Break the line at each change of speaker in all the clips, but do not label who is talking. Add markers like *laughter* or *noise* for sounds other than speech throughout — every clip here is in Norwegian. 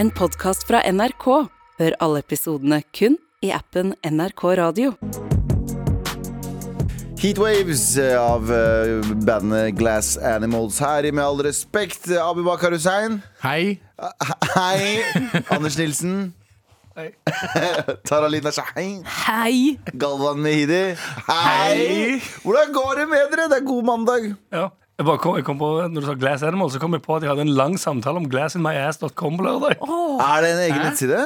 En podkast fra NRK. Hør alle episodene kun i appen NRK Radio.
Heatwaves av eh, bandet Glass Animals her i Med all respekt. Abubakar Hussein.
Hei.
Hei. Anders Nilsen. Taralina Shahin.
Hei!
Galvan Mehidi. Hei. Hvordan går det med dere? Det er god mandag.
Ja. Jeg bare kom, jeg kom på, når du sa Glass Animal, så kom jeg på at jeg hadde en lang samtale om glassinmyass.com på lørdag.
Er det en egen nettside?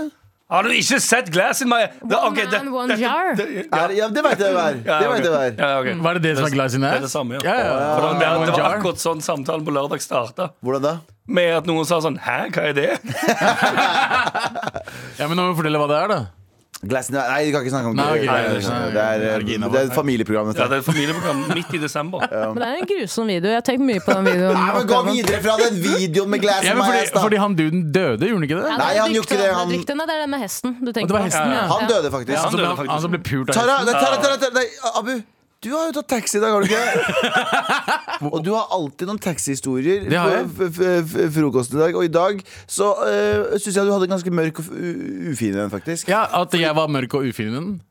Har du ikke sett Glass in my
One man, one jar. Mm.
ja.
Er, ja, det veit jeg hva er.
Ja,
Det vet jeg hva
ok.
er.
Ja, ok.
Var det det som var glass in
Det
ass?
er det samme, ja.
ja. ja.
For det, var- det var
Jar.
akkurat sånn samtalen på lørdag starta.
Hvordan da?
Med at noen sa sånn Hæ, hva er det?
ja, men nå må vi fortelle hva det er, da.
Glass Nei, vi kan ikke snakke om det.
Nei, ok.
Nei, nei, nei, nei. Det er, eh, det er et familieprogram.
Ja,
Dette.
det er et familieprogram midt i desember.
Men det er en grusom video. Jeg har tenkt mye på den videoen.
Nei, men Gå videre fra den videoen med Glass
Ja, men fordi,
Animals. da.
fordi han duden døde, gjorde han ikke det? Altså,
Ja,
Nei,
det er
han gjorde ikke
dyktig,
det,
han er
han-
dyktig. Nei, det er den med hesten du tenker
det var
på.
hesten, ja.
Han døde faktisk.
Ja,
Han,
han
som
døde
ble-
faktisk.
han som ble pult av
Tara,
hesten.
nei, Tara, Tara, Tara, nei, Abu, du har jo tatt taxi i dag, har du ikke? Og du har alltid noen taxihistorier
Det har jeg.
på f- f- f- frokosten i dag. Og i dag så uh, syns jeg du hadde en ganske mørk og f- u- ufin en, faktisk.
Ja, At jeg var mørk og ufin i den?
Ja,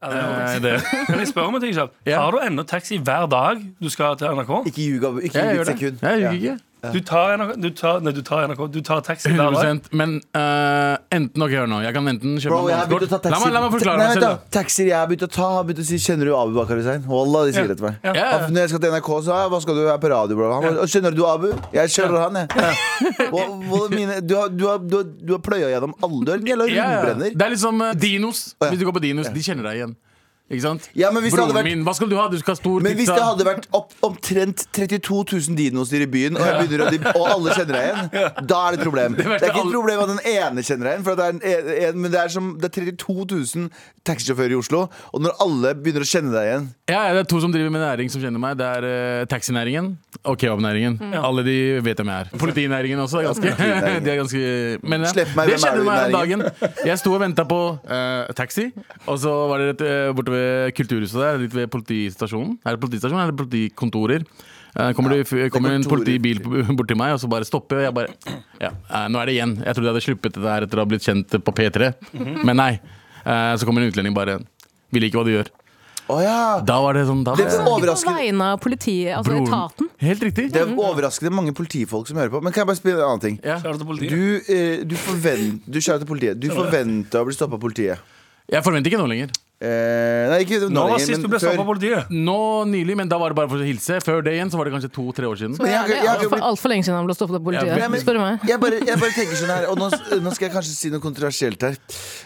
Eh, det
*laughs*
er- Kan jeg spørre om en ting, Kjapp?
Ja.
Tar du ennå taxi hver dag du skal til NRK?
Ikke ljug, Abu. Ikke
Jeg
ljug et
gjør det. Jeg
sekund.
ljuger
Ja.
ikke.
Du tar NRK, du tar, nei, du tar, NRK, du tar taxi hver dag?
100 Men eh, enten Ok, hør nå. Jeg kan enten kjøpe
Bro, jeg har begynt å ta
La
taxi.
meg, la meg forklare
Nei,
meg
vent da.
selv.
Taxier jeg har begynt å ta, har begynt å si 'Kjenner du Abu Bakar Hussein?' Wallah, de sier det til meg.
Ja.
Ja, ja.
Ja, Når jeg skal til NRK, så er jeg, hva skal du være på radio, bro? Han, bare, Skjønner du Abu? Jeg kjører han, jeg. Hva- hva mine- Du har, du har, du har, du har pløya gjennom alle Du er en jævla
Ja, ja.
rundbrenner.
Det er litt som eh, Dinos.
Å, ja.
Hvis du går på Dinos, de kjenner deg igjen. Ikke sant?
Ja, men hvis det
Broren
hadde vært-
min, hva skal du ha? Du skal ha stor
Men hvis
pizza.
det hadde vært opp, omtrent 32 000 dinoser i byen, og, jeg begynner, å- de, og alle kjenner deg igjen, da er det et problem. Det
verste
er ikke
alle-
et problem at den ene kjenner deg igjen, for det er en, en- en, men det er, som, det er 32 000 taxisjåfører i Oslo, og når alle begynner å kjenne deg igjen
Ja, ja, det er to som driver med næring som kjenner meg. Det er eh, taxinæringen og kebabnæringen. Alle de vet hvem jeg er. Politinæringen også. Er ganske,
politinæringen.
*laughs* de er ganske men, ja,
Slipp meg, hvem
Det
er
skjedde
du i
meg om dagen. Jeg sto og venta på eh, taxi, og så var det rett eh, borte ved kulturhuset der, litt ved politistasjonen. Er det politistasjon eller politikontorer? Eh, kommer det- kommer en
kontorer.
politibil *laughs* bort til meg, og så bare stopper jeg. bare, ja, eh, Nå er det igjen. Jeg trodde jeg hadde sluppet det der etter å ha blitt kjent på P3,
Mhm.
men nei. Eh, så kommer en utlending bare Vil ikke hva du gjør.
Å ja!
Da var det sånn da
Det var
På
overraskende.
vegne av politiet, altså
Broren.
etaten.
Helt riktig.
Det er overraskende mange politifolk som hører på. Men kan jeg bare spille en annen ting?
Ja.
Kjører du til politiet?
Du, eh, du, forvent, du kjære til politiet Du forventa å bli stoppa av politiet.
Jeg forventer ikke noe lenger.
Eh, nei, ikke nå
Nå var
lenger, men
sist du ble
før.
stoppet av politiet.
Nå nylig, men da var det bare for å hilse. Før det igjen så var det kanskje to-tre år siden.
Men jeg-
Det
jeg-
er
jeg-
altfor alt for lenge siden han ble stoppet
Ja,
av politiet.
men-
Spør du meg.
Jeg bare, jeg bare tenker sånn her Og nå, nå skal jeg kanskje si noe kontroversielt her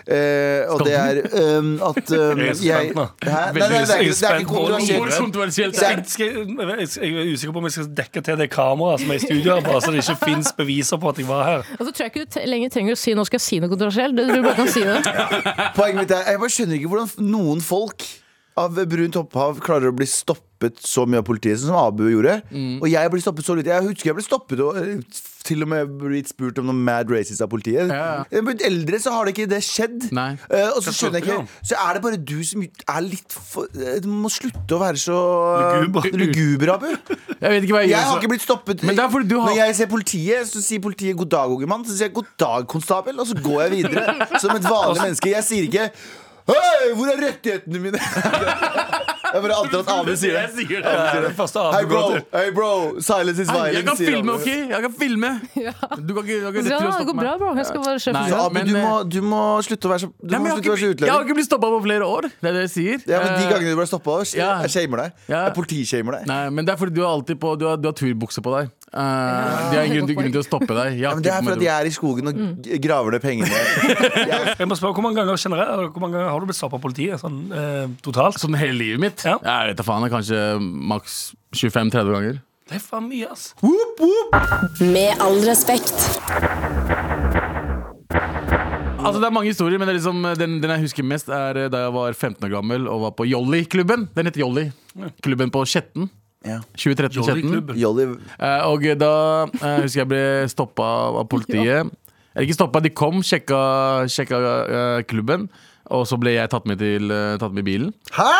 Eh, Og
Skal
det er um, at um,
Jeg er så spent nå.
Hæ? Nei, nei, det er ikke, det er ikke
Hvor
kontroversielt
kontroversielt er
Jeg, skal, jeg, jeg er usikker på om jeg skal dekke til det kameraet som er i studio, her, bare så det ikke fins beviser på at jeg var her.
Og så Altså, tror jeg ikke du te- lenger trenger å si 'nå skal jeg si noe kontroversielt'. Du bare kan si det.
Poenget mitt er, jeg bare skjønner ikke hvordan noen folk Av brunt opphav klarer å bli stoppet Så mye av politiet sånn som Abu gjorde
Mm.
Og jeg blir stoppet så litt Jeg husker jeg ble stoppet og eh, til og med blitt spurt om noe mad racist av politiet
Ja, ja.
Jeg har blitt eldre så har det ikke det skjedd
Nei.
Eh, Og så
Skal
skjønner jeg
slutte,
ikke Så er det bare du som er litt for, eh, Du må slutte å være så
Luguber.
Luguber, Abu
Jeg vet ikke hva jeg
Jeg har
gjør.
ikke blitt stoppet.
Men det er fordi du har-
Når jeg ser politiet, så sier politiet 'god dag, unge mann'. Så sier jeg 'god dag, konstabel', og så går jeg
*laughs*
videre som et vanlig menneske. Jeg sier ikke 'hei, hvor er rettighetene mine'? *laughs* Jeg bare antar at Abu sier det.
sier
Det er det første
Hei,
avhør du går
bro.
til.
Hei, bro. Silence is violence.
Jeg kan
sier
filme,
Abu.
OK? Jeg kan filme. Du kan ikke, du har ikke rett til å
Så, ja, det
stoppe
går
meg.
bra, bro. Jeg skal bare kjøpe
Nei.
Så Abu,
men,
du,
eh,
må, du må slutte å være så, du
Nei,
må
men
slutte å være
jeg,
så
har ikke, jeg har
utlending.
ikke blitt stoppa på flere år. Det er det jeg sier.
Ja, men De
Eh,
gangene du ble stoppa,
Ja.
jeg shamer deg.
Ja.
Jeg politishamer deg.
Nei, men det er fordi du har alltid på Du har, du har turbukse på deg. Eh, det er ingen grunn, grunn til å stoppe deg. Jeg har
Ja, men det
ikke Mm.
er
på meg
fordi jeg er i skogen og g- graver ned
*laughs*
pengene.
Jeg må spørre, Hvor mange ganger, generelt, eller hvor mange ganger har du blitt stoppet av politiet sånn eh, totalt?
Sånn hele livet mitt?
Ja.
Jeg vet da faen. Kanskje maks 25-30 ganger.
Det er faen mye, ass.
Med all respekt.
Altså Det er mange historier, men det er liksom, den, den jeg husker mest, er eh, da jeg var 15 år gammel og var på Jolly-klubben. Den heter Jolly. Klubben på Skjetten.
Ja.
2013 Skjetten.
Jollyklubben.
Jolly
Eh, og da eh, husker jeg ble stoppa av politiet. Eller ikke stoppa, de kom, sjekka, sjekka eh, klubben. Og så ble jeg tatt med, til, eh, tatt med i bilen.
Hæ?!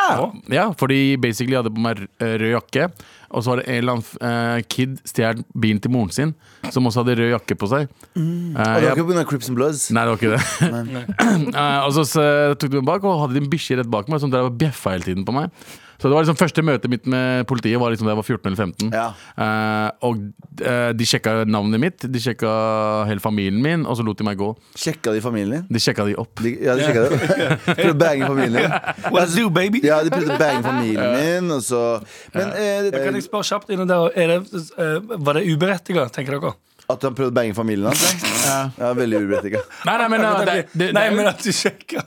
Ja, fordi basically jeg hadde på meg r- rød jakke, og så var det en eller annen f- eh, kid stjålet bilen til moren sin, som også hadde rød jakke på seg. Eh,
Mm. Og det var
jeg,
ikke pga. Crips and Bloods?
nei, det var ikke
*laughs*
det. *clears throat* Eh, og så s- tok de meg bak, og hadde de en bikkje rett bak meg sånn som drev og bjeffa hele tiden på meg. Så det var liksom første møtet mitt med politiet var liksom da jeg var 14 eller 15.
Ja.
Eh, og eh, de sjekka navnet mitt, de sjekka hele familien min, og så lot de meg gå.
Sjekka de familien din?
De sjekka de opp.
De, ja, de sjekka det. Prøvde å bange familien din.
What do, baby?
Ja, de prøvde å bange familien din, og så Men eh,
Da kan jeg spørre kjapt innom der er det, eh, Var det uberettiget, tenker dere?
at han prøvde å bange familien hans? Ja, veldig uberettiget.
Nei,
*laughs*
nei, men, eh, det, det,
Nei,
det,
men at du sjekker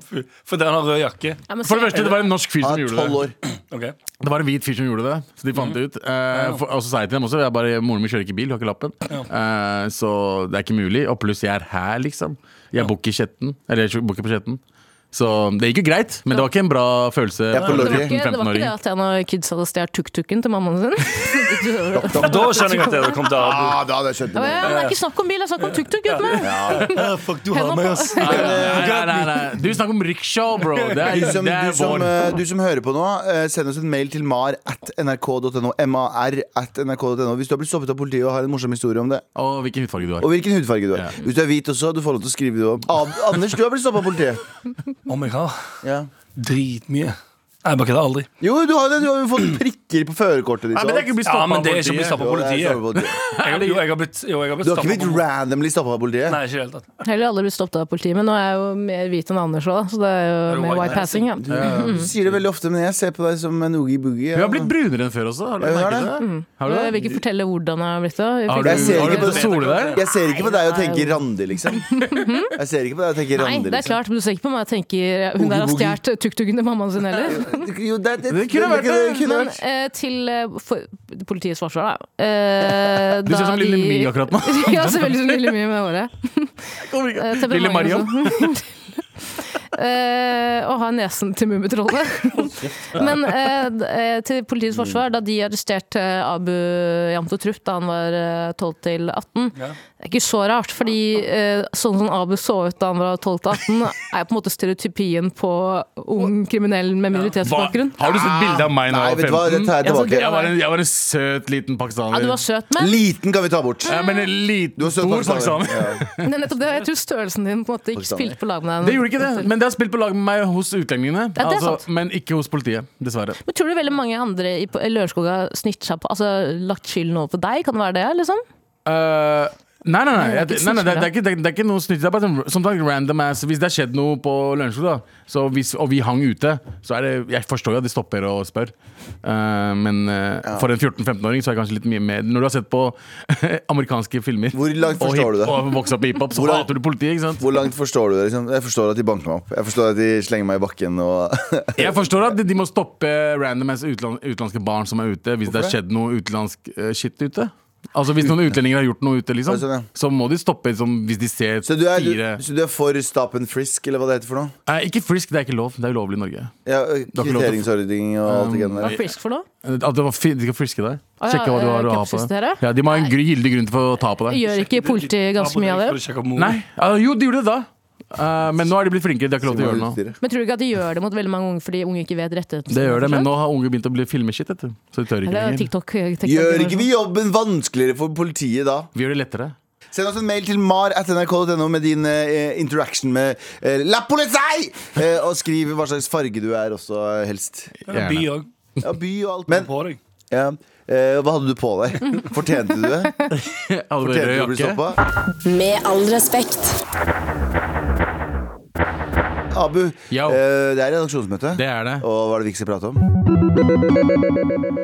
*laughs* Fordi han har rød jakke.
Ja, men
for det
se-
første, det var en norsk fyr som
Han er
gjorde det.
tolv år.
Ok
Det var en hvit fyr som gjorde det, så de fant det ut. Eh, for, og så sa jeg til dem også jeg bare, moren min kjører ikke bil, har ikke lappen. Eh, så det er ikke mulig. Og pluss jeg er her, liksom. Jeg bor ikke i Skjetten. Eller jeg bor ikke på Skjetten. Så det gikk jo greit, men det var ikke en bra følelse.
Jeg er på
det var,
Lorry.
ikke, det var ikke det at en av kidsa hadde stjålet tuk-tuken til mammaen sin?
Og Da skjønner jeg at det kom til å avbryte.
Ah, da hadde jeg skjønt
Ja,
det.
men det er ikke snakk om bil, det er snakk om tuk-tuk. gutt meg.
Fuck, du
har Henda meg, på. ass.
Nei, nei, nei, nei. Du snakker om rickshaw, bro. Det er,
Du som,
det
du,
er
som,
vår.
eh, du som hører på nå, eh, send oss en mail til mar at nrk.no. MAR at nrk.no Hvis du har blitt stoppet av politiet og har en morsom historie om det.
Og hvilken hudfarge du har.
Og hvilken hudfarge du har.
Ja.
Hvis du er hvit også, du får lov til å skrive det opp. Ab Anders, du har blitt stoppa av politiet.
Om jeg har
Ja.
dritmye. Nei, bare kødder aldri.
Jo, du har jo det. Du har jo fått prikker på førerkortet ditt. og
Nei, men det er
alt.
ikke å bli
Ja,
stoppet
men
av
det er ikke å bli
politiet.
stoppet av
Jo, det er
politiet.
stoppet av politiet.
*laughs*
Jeg, jo, jeg har blitt, jo, jeg har blitt
Du har ikke
stoppet
blitt
av
randomly stoppa av politiet?
Nei, ikke helt. da.
*laughs* Heller aldri blitt stoppet av politiet, men nå er jeg jo mer hvit enn Anders òg, så det er
Er
jo
du
mer
white
white passing. Ja.
Du sier det veldig ofte, men jeg ser på deg som en oogie-boogie.
Hun har blitt brunere enn før også. Har du
Ja, hun har
merket det? Har du det?
Jeg
Ah,
vil ikke fortelle hvordan jeg har blitt det.
Har
Jeg fikk-
du,
Jeg ser
har
ikke
du
på-
sole der?
Jeg ser ikke på deg og tenker Randi, liksom. Jeg ser ikke på deg og tenker
Nei,
Randi,
det er
liksom.
klart, men du ser ikke på meg og tenker eh, hun der har stjålet tuk-tuken til mammaen sin heller.
Jo, det, det,
Det kunne vært det.
kunne
Men
vært.
eh, til eh, for, politiets forsvar, da. Eh,
Du ser ut som Lille My akkurat nå.
*laughs* ja, selvfølgelig som Lille My med håret. Eh, temperamentet
Lille Mariam.
også. *laughs* Eh, og ha nesen til Mummitrollet. *laughs* Men eh, d- eh, til politiets forsvar, da de arresterte eh, Abu Jamto Trup da han var eh, 12 til 18 Det er ikke så rart, fordi eh, sånn som Abu så ut da han var 12 til 18, er på en måte stereotypien på ung kriminell med minoritetsbakgrunn.
Har du sett bilde av meg nå?
Nei, vet du hva, det
15?
tar jeg
Ja, så
tilbake.
gøy.
Jeg var, en, jeg var en søt liten pakistaner.
Ja, du var søt, men
Liten kan vi ta bort.
ja, men en
Du
liten,
er søt
stor pakistaner.
pakistaner.
det er nettopp det. Jeg tror størrelsen din på en måte ikke
Pakistaner.
spilte på lag med
Det
deg.
gjorde ikke det, men det har spilt på lag med meg hos utlendingene.
Ja, det er
altså,
sant.
men ikke hos politiet, dessverre.
Men tror du veldig mange andre i på- Lørenskog har snitcha på Altså lagt skylden over på deg? Kan det være det, liksom?
Eh, nei, nei, nei, jeg,
ikke
nei, nei det, det, er ikke, det, er- det er ikke noe snytt. Det er bare sånn, som sagt, random ass. Hvis det har skjedd noe på Lørenskog, da, så hvis, og vi hang ute, så er det Jeg forstår jo at de stopper og spør, Eh, men eh, for en 14-15-åring så er det kanskje litt mye mer Når du har sett på *laughs* amerikanske filmer
Hvor langt
og,
forstår du det?
og vokst opp i hiphop, så
Hvor langt-
hater du politiet, ikke sant?
Hvor langt forstår du det? Liksom? Jeg forstår at de banker meg opp. Jeg forstår at de slenger meg i bakken og
Jeg forstår at de- de må stoppe random ass utland, utenlandske barn som er ute, hvis det har skjedd noe utenlandsk eh, shit ute. Altså Hvis noen utlendinger har gjort noe ute, liksom,
Ja, sånn, ja.
så må de stoppe liksom, hvis de ser
Så du er,
fire
så du er for stop and frisk, eller hva det heter for noe?
Nei, Ikke frisk, det er ikke lov. Det er ulovlig i Norge.
Ja,
har ikke lov til å-
Kvitteringsordning og alt det greiene
Hva
der.
er frisk for noe?
At det var fi, de skal friske deg.
Å, ja,
Sjekke hva du har å ha på
kroppsvisiterer?
deg. Ja, de må ha en gr- gyldig grunn til å ta på deg.
Gjør ikke politiet ganske mye av det?
Nei, ja, Jo, de gjorde det da. Eh, men nå er de blitt flinkere. De har ikke lov til å gjøre det nå.
Utstyret.
Men tror du ikke at de gjør det mot veldig mange unge fordi unge ikke vet rettighetene?
Det
sine,
gjør det, men
kanskje?
nå har unge begynt å bli filmeshit, vet du. Så de tør ikke
Eller
lenger.
TikTok, TikTok
Gjør ikke vi jobben vanskeligere for politiet da?
Vi gjør det lettere. *laughs*
Send oss en mail til mar at nrk.no med din eh, interaction med eh, La Polizei! Eh, og skriv hva slags farge du er også, eh, helst.
By
Gjerne.
òg.
Ja, by og alt.
Men
Men
på deg.
ja, eh, hva hadde du på
*laughs*
deg? Fortjente du det?
Hadde du
Fortjente du å
rød
bli
jakke?
stoppa?
Med all respekt.
Abu,
Yo.
eh, det er redaksjonsmøte.
Det er det.
Og hva er det vi ikke skal prate om?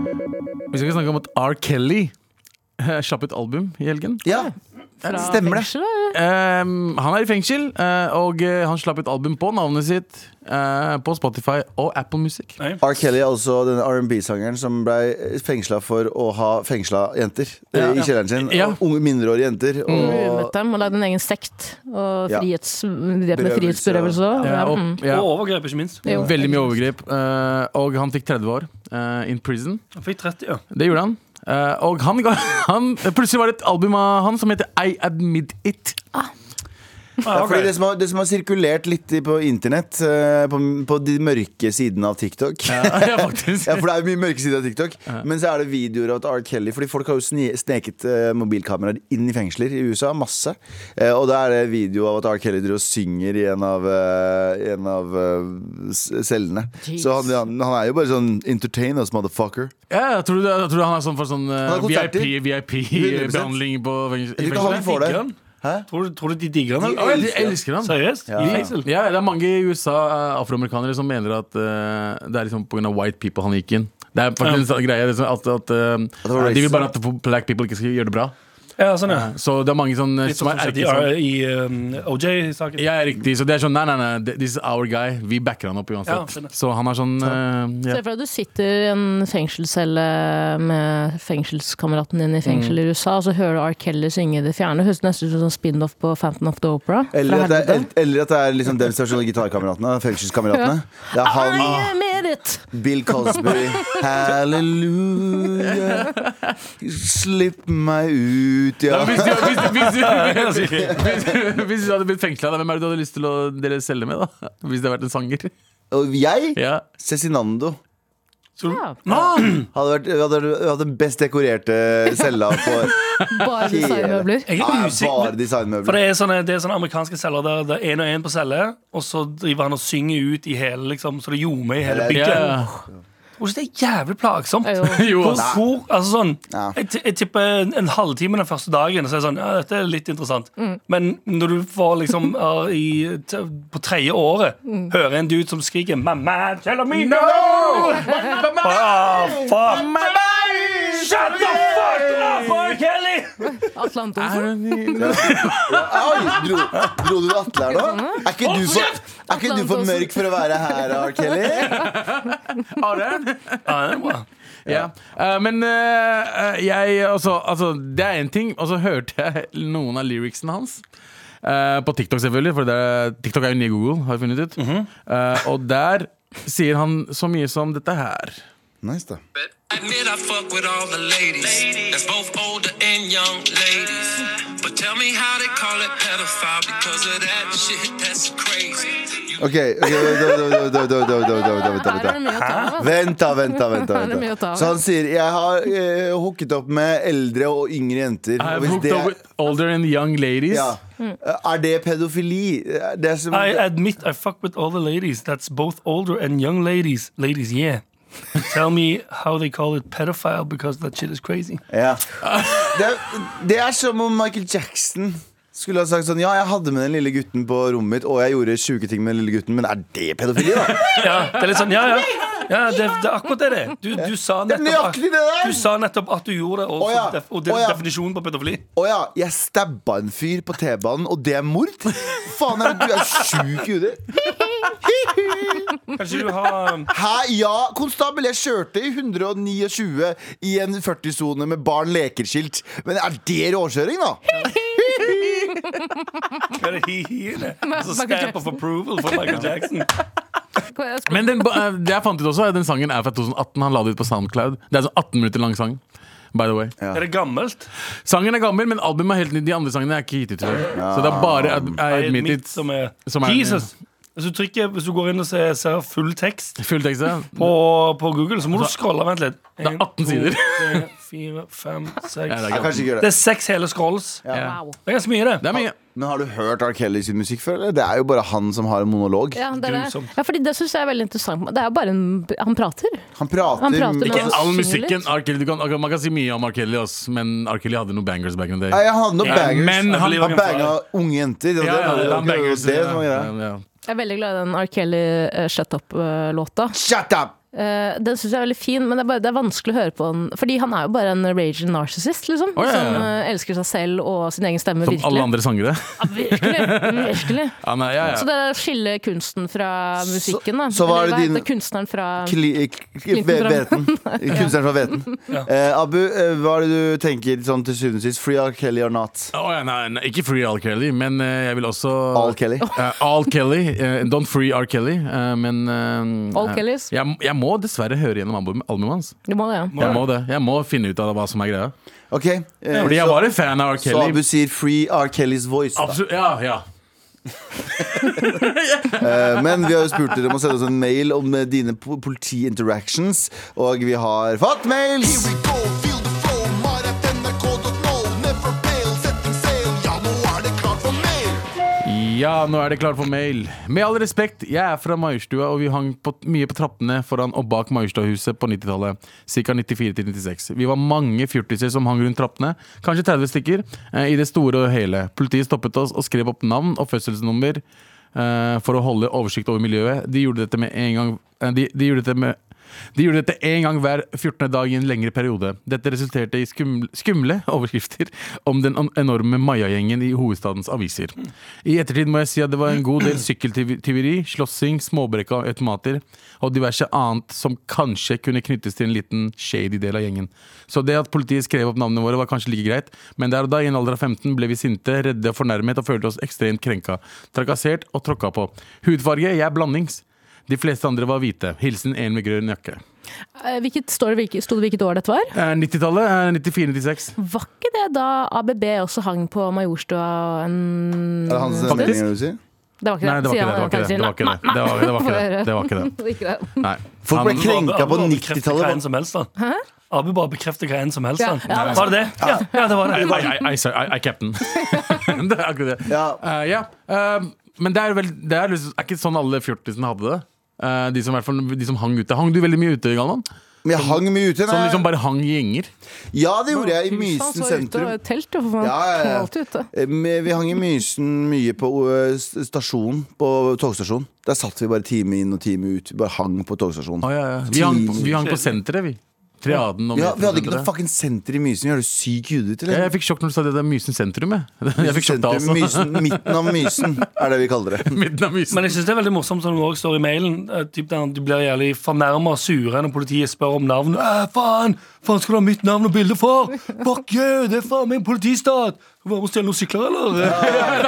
Vi skal snakke om at R. Kelly eh, slapp et album i helgen.
Ja,
sånn
stemmer det.
Ehm, han er i fengsel, eh, og eh, han slapp et album på navnet sitt eh, på Spotify og Apple Music.
Nei.
R. Kelly, altså den R&B-sangeren som ble fengsla for å ha fengsla jenter eh, i kjelleren sin.
Ja. Mm.
Unge mindreårige jenter.
Rumet
Og
dem og lagde en egen sekt. Og
Ja.
frihets, det med
Berøvelse.
frihetsberøvelse Mm. òg.
Ja, og, ja.
Og overgrep, ikke minst.
Jo.
Veldig mye overgrep. eh, og han fikk 30 år eh, in prison.
Jeg fikk 30, ja.
Det gjorde han. Eh, og *laughs* han, ga- han, plutselig var det et album av han som heter I Admit It.
Ja, fordi
ok.
det, som har, det som har sirkulert litt i- på internett, eh, på, på de mørke sidene av TikTok
*laughs* Ja, faktisk.
*laughs* Ja, for det er jo mye mørke sider av TikTok. Men så er det videoer av R. Kelly. Fordi folk har jo sne sneket eh, mobilkameraer inn i fengsler i USA. Masse. Eh, og da er det video av at R. Kelly driver og synger i en av, eh, en av eh, s- cellene.
Jeez.
Så han, han, han er jo bare sånn entertain us, motherfucker.
Ja, jeg tror, du- jeg tror han er sånn for sånn
har konserter.
VIP-behandling på fengs- i
Jeg tror ikke han
fengsel.
får det.
Digger han?
Hæ?
Tror du, tror du de digger han?
De
eller?
elsker- elsker han.
Seriøst?
Ja.
I fengsel?
Ja, det er mange i USA, eh, afroamerikanere, som mener at eh, det er liksom pga. white people han gikk inn. Det er faktisk en sånn greie liksom, at, at, eh,
det var
De vil bare
racist.
at black people ikke skal gjøre det bra.
Ja, sånn, ja.
Så det er mange sånn, eh,
Litt
som
sånn
er
som skjedde i,
erkesamme.
i um, OJ-saken.
Ja, riktig. Så det er sånn nei, nei, nei, th- this is our guy. Vi backer han opp
Ja,
uansett.
skjønner.
så han er sånn eh,
Se
ja.
for deg at du sitter i en fengselscelle med fengselskameraten din i fengsel
Mm.
i USA, og så hører du R. Kelly synge i det fjerne. Høres nesten ut som en spin-off på Phantom of the Opera. fra
Eller at det er,
helvete.
eller at det er liksom dem som er sånn gitarkameratene. Fengselskameratene. Det er han,
I made it!
Bill Cosby. Halleluja. Slipp meg ut, ja.
Ja, hvis, du, *laughs* hvis, du- hvis, du- hvis, du- hvis du hadde blitt fengsla, hvem er det du hadde lyst til å dele celle med? da? Hvis det hadde vært en sanger.
Og jeg?
Ja.
Cezinando.
Ja,
Hadde vært hadde, hadde den best dekorerte cella på
bare designmøbler.
Ja,
Jeg er
bare
usikker. For
designmøbler.
det er sånne, det er sånne amerikanske celler der det er én og én på celle, og så driver han og synger ut i hele liksom, Så det ljomer i hele bygget.
Ja.
Tror ikke det er jævlig plagsomt.
*laughs* Jo.
Jo,
Hvor,
ass.
hvor, altså sånn,
Ja.
jeg, ti- jeg tipper en, en halvtime den første dagen, så er jeg sånn Ja, dette er litt interessant. Men når du får liksom *laughs* er i, t- på tredje året hører en dude som skriker 'Mamma, tell me no!' Ah, fuck. Shut the fuck up, R. Kelly! *laughs*
Atle Antonsen.
Oi, dro, dro du Atle her
sånn.
nå? Er ikke du for, er ikke du for mørk for å være her, R. Kelly?
Are?
Ja, Ah, det er bra.
Ja. Eh, men eh, eh, jeg altså, altså, det er én ting, og så hørte jeg *laughs* noen av lyricsene hans. eh, på TikTok, selvfølgelig, for det er, TikTok er jo nye Google, har jeg funnet ut. Eh, og der sier han så mye som dette her.
Nice, da.
Admit I fuck with all the ladies. That's both older and young ladies. But tell me how they call it pedophile because of that shit. That's crazy. You
OK. ok, da- da- da- da- da- da- da- da- da- da- da.
Her er det mye å ta av. altså.
Vent, da, vent, da.
*laughs*
vent da,
Her er det mye
vent
å ta
da
av.
Så han sier 'jeg har eh, hooket opp med eldre og yngre jenter'. Og
I've
hvis
hooked
det
up
er,
with older and young ladies.
ja. Eh, er det pedofili? Eh, Det er som,
I admit I fuck with all the ladies. That's both older and young ladies. Ladies, yeah. Tell me how they call it pedophile because that shit is crazy.
Ja. Det, det er som om Michael Jackson skulle ha sagt sånn Ja, jeg hadde med den lille gutten på rommet mitt, og jeg gjorde sjuke ting med den lille gutten, men er det pedofili,
*laughs*
da?
Ja, det er litt sånn, ja, ja. ja det, det er akkurat det det er. Du, du, sa
Det er
nettopp
nøyaktig
at,
det der!
du sa nettopp at du gjorde det, og,
Å ja,
så def, og det
å
er
ja.
definisjonen på pedofili.
Å ja, jeg stabba en fyr på T-banen, og det er mord? Faen, er du du er sjuk i hudet?
*laughs*
Kanskje du har um,
Hæ? Ja, konstabel, jeg kjørte i 129 i en 40-sone med barn leker-skilt. Men er det råkjøring, da?
hva er det hi-hi-ene? Altså
Michael Jackson.
stamp of approval for Michael Jackson.
Jeg skulle-
Men den, ba- eh, det jeg fant ut også, er den sangen er fra 2018. Han la det ut på Soundcloud. Det er sånn 18 minutter lang sang. By the way
Er det gammelt?
Sangen er gammel, men albumet er helt nytt. De andre sangene er ikke gitt ut før. Så det er bare ad, I
Er det
admit
mitt
it.
som er,
som er-
Jesus! Hvis du, trykker, hvis du går inn og ser, ser full tekst
Fulltekstet.
på, på Google, så må du scrolle. Vent litt.
Altså, er 18 sider.
3, 4, 5,
Ja, det er
6
Jeg
gammel.
kanskje ikke gjør
Det
det.
er seks hele scrolls.
Ja.
Wow.
Det er ganske mye,
Det
det.
er mye.
Men har du hørt R. Kelly sin musikk før? eller? Det er jo bare han som har en monolog.
Ja, det er det.
Grusomt.
ja, fordi det syns jeg er veldig interessant. Det er jo bare en Han prater.
Han prater,
Han prater
men-
med
Ikke
oss.
all
synger
musikken.
litt.
R. Kelly, du kan, ok, man kan si mye om R. Kelly, ass, men R. Kelly hadde noen bangers back in the
Nei,
day.
jeg hadde noen bangers.
Men han
believe
Han
Jørgen
banga unge jenter. Det var
Ja,
det,
ja,
det,
det
var
er bangers.
det som var
ja,
greia.
ja.
Jeg er veldig glad i den R. Kelly eh, Shut Up-låta.
Shut up!
den syns jeg er veldig fin, men det er, bare, det er vanskelig å høre på den. Fordi han er jo bare en raging narcissist, liksom.
Å, ja, ja.
Som eh, elsker seg selv og sin egen stemme,
Som
virkelig.
alle andre sangere.
Ja, virkelig. virkelig.
Ja, nei, *laughs* ja,
Så
ja.
det er å skille kunsten fra musikken, da.
så hva er det
Eller hva
din-
heter kunstneren fra
Kli,
Clinton Brand.
veten.
*laughs*
Kunstneren fra
*laughs*
Veten. Eh, Abu, eh, hva er det du tenker sånn til syvende og sist? Free R. Kelly or not?
Å, ja, nei, nei, ikke Free R. Kelly, men eh, jeg vil også
All Kelly.
Eh, All Kelly. eh, don't free R. Kelly, eh, men eh,
All
eh,
Kellys?
Jeg, jeg må dessverre høre gjennom album- albumet hans.
Du må det, ja.
Jeg må det. Jeg må finne ut av hva som er greia.
Ok, eh,
Fordi jeg
så,
var en fan av R.
så Abu
Kelly.
sier Free R. Kellys voice. Da.
Absolutt, ja, ja
Eh, Men vi har jo spurt dere om å sende oss en mail om eh, dine po- politi-interactions, og vi har fått mails!
Ja, nå er det klart for mail. Med all respekt, jeg er fra Majorstua, og vi hang på, mye på trappene foran og bak Majorstuahuset på 90-tallet. Ca. 94-96. Vi var mange fjortiser som hang rundt trappene, kanskje 30 stykker, eh, i det store og hele. Politiet stoppet oss og skrev opp navn og fødselsnummer eh, for å holde oversikt over miljøet. De gjorde dette med en gang eh, de, de gjorde dette med de gjorde dette én gang hver 14. dag i en lengre periode. Dette resulterte i skumle, skumle overskrifter om den en- enorme Maya-gjengen i hovedstadens aviser. I ettertid må jeg si at det var en god del sykkeltyveri, slåssing, småbrekk av automater og diverse annet som kanskje kunne knyttes til en liten shady del av gjengen. Så det at politiet skrev opp navnene våre var kanskje like greit, men der og da, i en alder av 15, ble vi sinte, redde og fornærmet og følte oss ekstremt krenka. Trakassert og tråkka på. Hudfarge? Jeg er blandings. De fleste andre var hvite. Hilsen en med grønn jakke.
Eh, Hvilket, står det, hvilket, sto det hvilket år dette var?
Eh, 90-tallet? Eh, 94-96.
Var ikke det da ABB også hang på Majorstua en
Er det han som sender
Faktisk.
meldingen, vil du si?
Det var ikke det.
Nei, det var
sier
ikke det. Det
han
var ikke det. Det var ikke det.
Nei,
Det var, det var ikke det.
nei.
Det var ikke det.
Ikke det.
Nei. *laughs*
Folk ble krenka på
Abu bare bekrefter hva
90-tallet.
enn som helst, da. Abu bare bekrefter hva enn som helst.
Ja,
da.
ja, det er
var det det? Ja, ja, det var det.
I, I, I, sorry, I, I kept den. *laughs* det er akkurat det.
Ja.
Eh, ja. eh, men det er vel det er, liksom- er ikke sånn alle fjortisene hadde det. Eh, de, som, i hvert fall- de som hang ute. Hang du veldig mye ute, Galvan?
Men jeg hang mye ute.
Som
nei.
liksom bare hang i gjenger?
Ja, det gjorde jeg i
Huset
Mysen
hans var ute
sentrum.
og et telt, og man
Ja, ja, ja.
kom alltid ute.
Eh, men Vi hang i Mysen mye på ø, s- stasjonen, på togstasjonen. Der satt vi bare time inn og time ut. Vi bare hang på togstasjonen.
Å, ja, ja. Vi, hang, på- vi hang på senteret, vi. Triaden og
Ja, vi hadde ikke noe
metrosenteret.
fucking senter i Mysen. Vi hadde syk hudet,
Ja,
eller?
jeg fikk sjokk når du sa det der Mysen sentrum. Jeg, *laughs* jeg fikk sjokk da
Sentrum,
også.
Mysen, midten av Mysen er det vi kaller det.
*laughs* Midten av Mysen.
Men jeg synes det er veldig morsomt sånn som det også står i mailen. eh, Typ der Du blir jævlig fornærma og sure når politiet spør om navn. Æ, faen! faen skal du ha mitt navn og bilde for? Fuck you! Det er faen meg en politistat! Skal du være med og stjele noen sykler, eller? *laughs*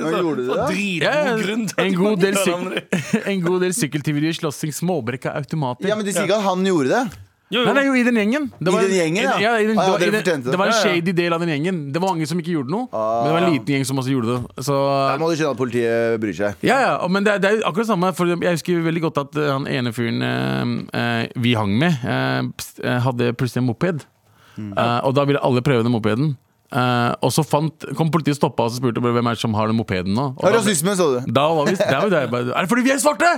Men gjorde du det? da?
Dritgod
Ja, ja,
grunn til at
en god del,
politiet tar navnet ditt.
syk *laughs* en god del sykkeltyverier, slåssing, småbrekk av automater.
Ja, men De sier ikke at han gjorde det.
Jo,
Nei,
jo.
det er jo i den gjengen. Det
I den gjengen, ja.
i den,
Ah, ja, dere
det, var, i den,
fortjente det.
det var en
Ja, ja.
shady del av den gjengen. Det var mange som ikke gjorde noe, men det var en liten gjeng som også gjorde det. Så,
Da må du skjønne at politiet bryr seg.
ja, ja, og- men det, er- det er jo akkurat det samme. For jeg husker veldig godt at eh, han ene fyren eh, eh, vi hang med, eh, pst- eh, hadde plutselig en moped.
Mm.
Eh, og da ville alle prøve den mopeden. Eh, og så fant, kom politiet og stoppa oss og spurte bare, hvem er det som har den mopeden nå. Og
Ja,
da,
Rasisme, sa du.
da var vi, der var det, bare, er det fordi vi er svarte?!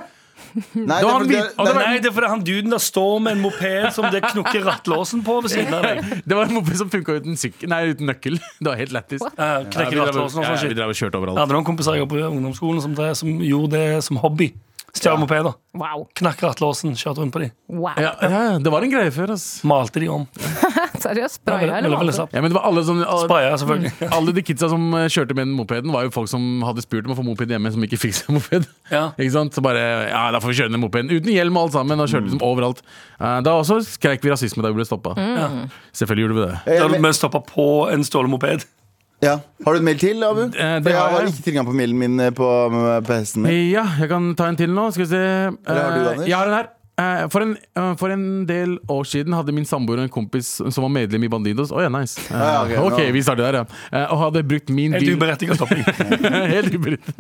Nei,
Da
det er
han
fordi-
hvit- og
nei,
det var-
Nei, det er fordi han duden der står med en moped som det knukker rattlåsen på ved siden av deg.
Det var en moped som funka uten, syk- nei, uten nøkkel. *laughs* Det var helt lættis.
Ja, knekker
Ja, vi drev-
rattlåsen og
ja,
sånn
Vi
shit.
drev og kjørte
Jeg
overalt.
hadde noen kompiser jeg var på ungdomsskolen som, drev- som gjorde det som hobby. Stjal mopeder.
Wow.
Knakk rattlåsen, kjørte rundt på de.
wow.
Ja, ja, ja, det var en greie før, ass.
Malte de om.
*laughs* Seriøst,
Ja,
spraya
veldig-
eller
veldig- veldig
hva?
slapp.
Ja, men det var alle, som, alle,
Spraya, selvfølgelig. *laughs*
alle de kidsa som eh, kjørte med den mopeden, var jo folk som hadde spurt om å få moped hjemme, som ikke fikk seg *laughs* moped.
Ja.
Ikke sant? Så bare ja, da får vi kjøre den mopeden. Uten hjelm og alt sammen, og kjørte liksom overalt. Eh, Da også skreik vi rasisme da vi ble stoppa. Selvfølgelig gjorde vi det.
Da
jeg-
vi stoppa på en stjålet moped.
Ja. Har du en mail til, Abu?
Eh, det
For jeg
har
har
jeg. Eh.
ikke tilgang på mailen min eh, på, på hesten min.
Ja, jeg kan ta en til nå. Skal vi se.
Eller har du,
Eh,
Anders?
Jeg har en her. Eh, For en, eh, for en del år siden hadde min samboer og en kompis som var medlem i Bandidos. Å ja, nice. Eh,
Ja, ja, ok,
ok,
ja.
vi starter der, ja. Eh, Og hadde brukt min
Helt
bil
uberettiget
*laughs*
stopping.
Helt ubrutt.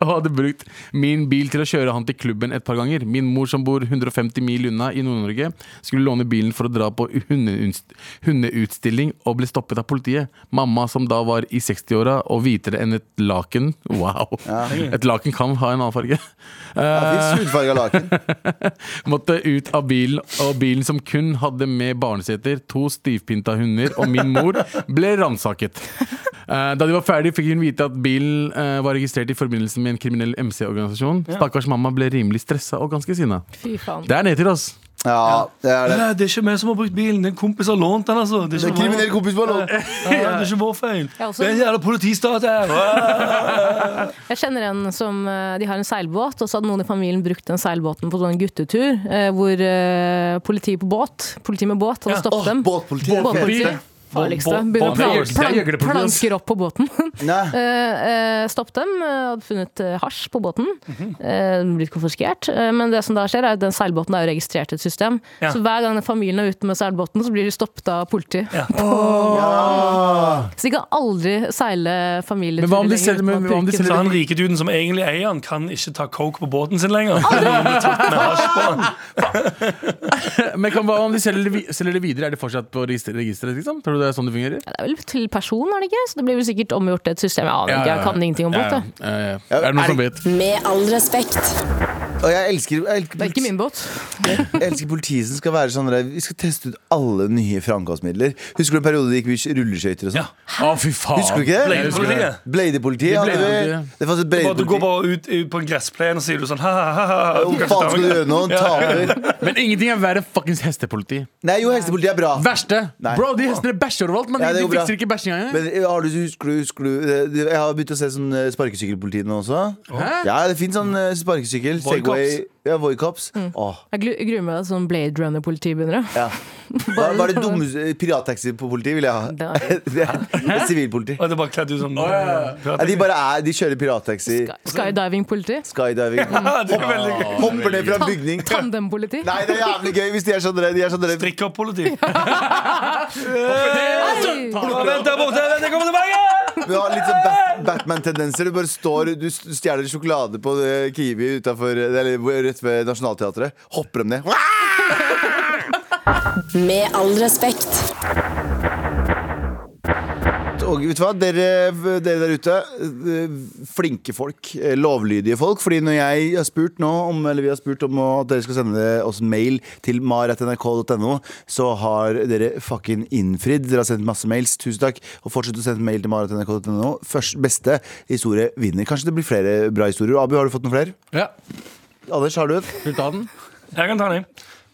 Og hadde brukt min bil til å kjøre han til klubben et par ganger. Min mor, som bor 150 mil unna i Nord-Norge, skulle låne bilen for å dra på hundeunst- hundeutstilling og ble stoppet av politiet. Mamma, som da var i 60-åra og hvitere enn et laken Wow! Et laken kan ha en annen farge.
Ja, Fins hudfarga laken.
Måtte ut av bilen, og bilen som kun hadde med barneseter, to stivpinta hunder og min mor, ble ransaket. Eh, Da de var ferdig, fikk hun vite at bilen eh, var registrert i forbindelse med en kriminell MC-organisasjon. Stakkars mamma ble rimelig stressa og ganske sinna.
Fy faen.
Det er ned til oss.
Ja, det er det.
*laughs* Nei, det er ikke vi som har brukt bilen. Det er en kompis som har lånt den. altså Det er
Det er
ikke,
kriminell kompis på lån.
vår- ja, det er ikke vår feil.
Ja, også-
Det er en jævla politistat her.
Jeg kjenner en som eh, De har en seilbåt, og så hadde noen i familien brukt den seilbåten på sånn guttetur, eh, hvor eh, politi på båt, politi med båt, hadde
Ja.
stoppet
Åh,
dem.
båtpoliti.
Båtpoliti. farligste.
Bo- bo-
Begynner
bo-
å plan-
det
er
plan-
jeglerproblemet.
planker opp på båten.
*laughs*
Nei.
Eh, eh, Stopp dem. eh, Hadde funnet eh, hasj på båten.
Mhm.
Eh, Blitt konfiskert. Eh, Men det som da skjer, er at den seilbåten er jo registrert i et system.
Ja.
Så hver gang den familien er ute med seilbåten, så blir de stoppet av politi. *laughs*
Ja.
Så de kan aldri seile familieturer
Men hva om de
lenger
selger-
uten
men
at
hva om de
purken-
Så
selger-
han rike duden som egentlig eier han, kan ikke ta coke på båten sin lenger. Han blir tatt *laughs* med hasj på han.
Men kan, hva om de selger det, vi- selger det videre? Er det fortsatt på register- registeret? Liksom? Tror du det er sånn det fungerer?
Det er vel til person, er det ikke? Så det blir vel sikkert omgjort til et system. Jeg aner ikke, jeg kan ingenting om båt. jeg.
Ja, ja, ja. Er det noen som vet?
Med all respekt.
Og jeg elsker, jeg elsker,
Det er ikke min båt.
Jeg elsker politiet som skal være sånn der, Vi skal teste ut alle nye framkomstmidler. Husker du en periode det gikk mye rulleskøyter og
Ja.
sånn?
Å, fy faen.
Husker du ikke det?
Jeg husker det.
Bladepolitiet.
Det
Bladepolitiet.
hadde vi.
Bladepolitiet.
Det fantes et
Bare, du
bladepoliti.
går bare ut, ut på en gressplen og sier du sånn ha, ha, ha, ha.
Hva faen skal du gjøre nå? Taper.
*laughs* Men ingenting er verre enn fuckings hestepoliti.
Nei, jo, hestepolitiet er bra.
Verste!
Nei.
Bro, de hestene bæsjer overalt, men
Ja, det
de
går bra.
fikser ikke bæsjinga engang.
Men eh, har du, husker du, husker du Jeg har begynt å se sånn eh, sparkesykkelpoliti nå også.
Hæ?
Ja, det fins sånn eh, sparkesykkel. Segway. Ja, Voicops. Åh.
Jeg glu- gruer meg til sånn Blade Runner-politi begynner. jeg.
*laughs* Ja. Hva, hva er det eh, dummeste Pirattaxi-politi vil jeg ha.
Da-
*laughs* Det er- det er Sivilpoliti.
Og det er bare kledd ut som
Ja, de bare er, de kjører pirattaxi.
Sky- Skydiving-politi.
Skydiving. *laughs*
Det er veldig gøy.
Hopper ned fra en bygning.
Tandem-politi.
Nei, det er jævlig gøy hvis de er sånn redde. De er sånn redde.
Strikkerpoliti.
Hei!
Vent der borte, vent, jeg kommer tilbake!
Du har litt sånn Bat Batman-tendenser. Du bare står, du s- stjeler sjokolade på eh, Kiwi utenfor, eller hvor- rett ved Nationaltheatret. Hopper dem ned.
Med all respekt.
Og vet du hva, dere, dere der ute, eh, flinke folk, eh, lovlydige folk. Fordi når jeg har spurt nå om, eller vi har spurt om å- at dere skal sende oss en mail til mar.nrk.no, så har dere fucking innfridd. Dere har sendt masse mails, tusen takk. Og fortsett å sende mail til mar.nrk.no. Først beste historie vinner. Kanskje det blir flere bra historier. Abu, har du fått noen flere?
Ja,
Anders, har du en?
skal du ta den?
Jeg kan ta den.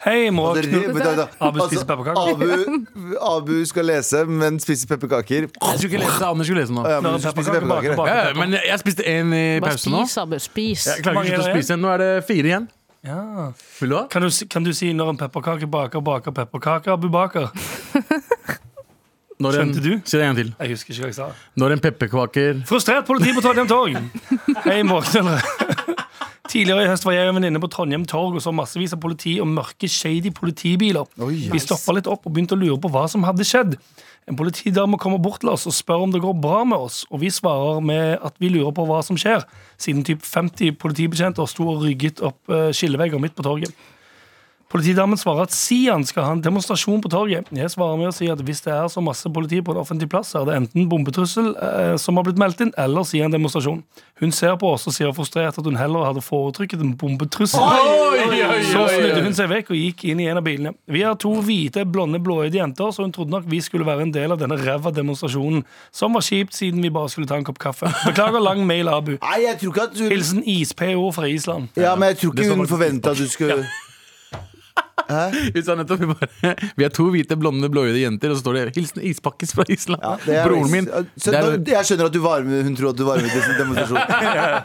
Hei, må
Dere-
knu-
vent, vent, vent.
Abu
Altså,
spiser pepperkaker.
Abu, Abu skal lese, men spiser pepperkaker.
Jeg skulle ikke lese det. Anders skulle lese den nå.
Ja,
Nå
men
er
du
det
skal spise
pepperkaker bak-
pepperkaker.
bak-
Ja, ja, men jeg spiste en i
Bare
pausen nå.
spis, Abbe. Spis.
Jeg klarer ikke å
Mange
slutte å
er det?
spise. Nå er det fire igjen.
Ja.
Vil du ha?
Kan du, si- kan du si når en pepperkake baker, baker pepperkaker, Abu Baker?
Når en,
Skjønte du?
Si det en gang til.
Jeg husker ikke hva jeg sa.
Når en pepperkaker
Frustrert politi på Trondheim Torg. Hei, morgendelere. Tidligere i høst var jeg og en venninne på Trondheim Torg og så massevis av politi og mørke, shady politibiler. Vi stoppa litt opp og begynte å lure på hva som hadde skjedd. En politidame kommer bort til oss og spør om det går bra med oss, og vi svarer med at vi lurer på hva som skjer, siden typ 50 politibetjenter sto og rygget opp eh, skillevegger midt på torget. Politidamen svarer at Sian skal ha en demonstrasjon på torget. Jeg svarer med å si at hvis det er så masse politi på en offentlig plass, er det enten bombetrussel eh, som har blitt meldt inn, eller Sian demonstrasjon. Hun ser på oss og sier frustrert at hun heller hadde foretrykket en bombetrussel. Så snudde hun seg vekk og gikk inn i en av bilene. Vi er to hvite, blonde, blåøyde jenter, så hun trodde nok vi skulle være en del av denne ræva demonstrasjonen, som var kjipt siden vi bare skulle ta en kopp kaffe. Beklager lang mail, Abu.
Nei, jeg tror ikke at du
Hilsen is-PO fra Island.
Ja, men jeg tror
Det
ikke
står
hun
faktisk
forventa at du skulle
*laughs* Vi sa nettopp vi bare Vi er to hvite, blonde, blåøyde jenter, og så står det 'Hilsen ispakkes fra Island'.
Ja, det er-
Broren min.
Så,
det er-
da- Jeg skjønner at du var med, hun tror at du var med i
*laughs*
disse demonstrasjonen.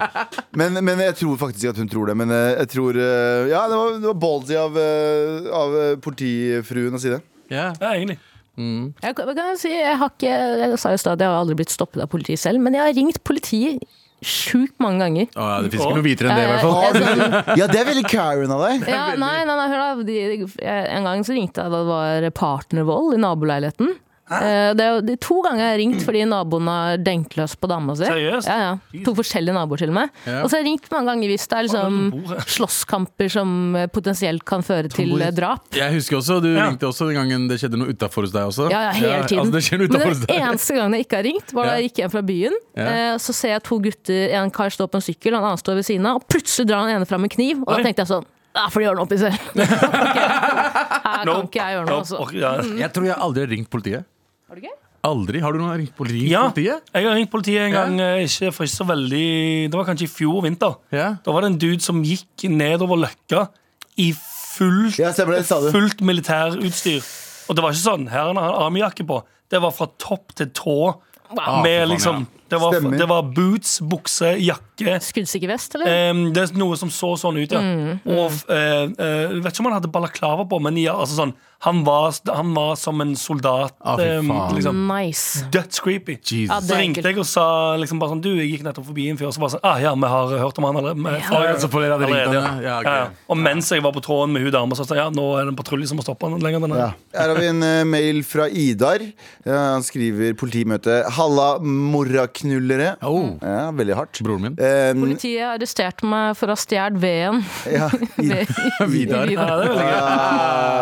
Men, men jeg tror faktisk ikke at hun tror det. Men eh, jeg tror eh, Ja, det var, det var ballsy av, eh, av eh, politifruen å si det.
Ja.
Ja, egentlig.
Jeg, kan- kan jeg, si, jeg, har ikke, jeg sa i stad at jeg har aldri blitt stoppet av politiet selv, men jeg har ringt politiet sjukt mange ganger.
Å, ja, det fins ikke noe hvitere enn det, i hvert fall.
Eh, jeg- sånn-
*laughs*
Ja, det er veldig Karen av deg.
Ja, nei, nei, nei, hør da. De, jeg- en gang så ringte jeg da det var partnervold i naboleiligheten. Eh, Det er jo de to ganger jeg har ringt fordi naboen har denkt løs på dama si.
Seriøst?
Ja, ja. To forskjellige naboer til og med.
Ja.
Og så har jeg ringt mange ganger hvis det er
Alle
liksom
bor her.
slåsskamper som eh, potensielt kan føre til eh, drap.
Jeg husker også, Du
Ja.
ringte også den gangen det skjedde noe utafor hos deg også.
Ja, ja, hele tiden.
altså, det skjer noe
Men
utenfor hos
den
deg.
eneste gangen jeg ikke har ringt, var da
Ja.
jeg gikk hjem fra byen.
Ja.
Eh, Så ser jeg to gutter, en kar står på en sykkel, han annen står ved siden av, og plutselig drar han ene fram en kniv, og da
Oi.
tenkte jeg sånn *laughs* Da får de gjøre noe opp i selv. Her kan
Nope.
ikke jeg gjøre noe,
Nope.
altså.
Ok, ja.
Jeg tror jeg aldri har ringt politiet.
Har du ikke?
Aldri? Har du noen gang ringt politi- ringt
Ja,
politiet?
jeg har ringt politiet en
Ja.
gang. eh, Ikke for ikke så veldig Det var kanskje i fjor vinter.
Ja.
Da var det en dude som gikk nedover Løkka i fullt,
Ja, stemmer det, sa du.
fullt militærutstyr. Og det var ikke sånn. Her har han armjakke på. Det var fra topp til tå.
Ah, for
Med
faen,
liksom
ja.
Det var,
Stemmer.
det var boots, bukse, jakke.
Skuddsikker vest, eller?
Em, det er noe som så sånn ut, ja. Og eh, eh, vet ikke om han hadde balaklava på, men ja, altså sånn, han, var, han var som en soldat.
Ah, fy
em,
faen.
liksom.
Nice.
Dødscreepy.
Ja,
Jesus.
Så
det er
ringte
ekkelt.
jeg og sa liksom bare sånn Du, jeg gikk nettopp forbi en fyr, og så bare sånn Ah, ja, vi har hørt om han allerede. men-
Ah, ja, så flere hadde ringt
allerede,
han, ja. Ja, ok.
ja, ja. Og mens jeg var på tråden med hun dama, så sa jeg ja, nå er det en patrulje som må stoppe han lenger. Denne.
Ja. Her har vi en eh, mail fra Idar. Eh, han skriver politimøte. Halla, moraknullere.
Oh.
Ja, veldig hardt.
Broren min.
Mm. Eh,
Politiet arresterte meg for å ha stjålet veden.
ja, Idar.
Vidar.
Ja, det er veldig gøy.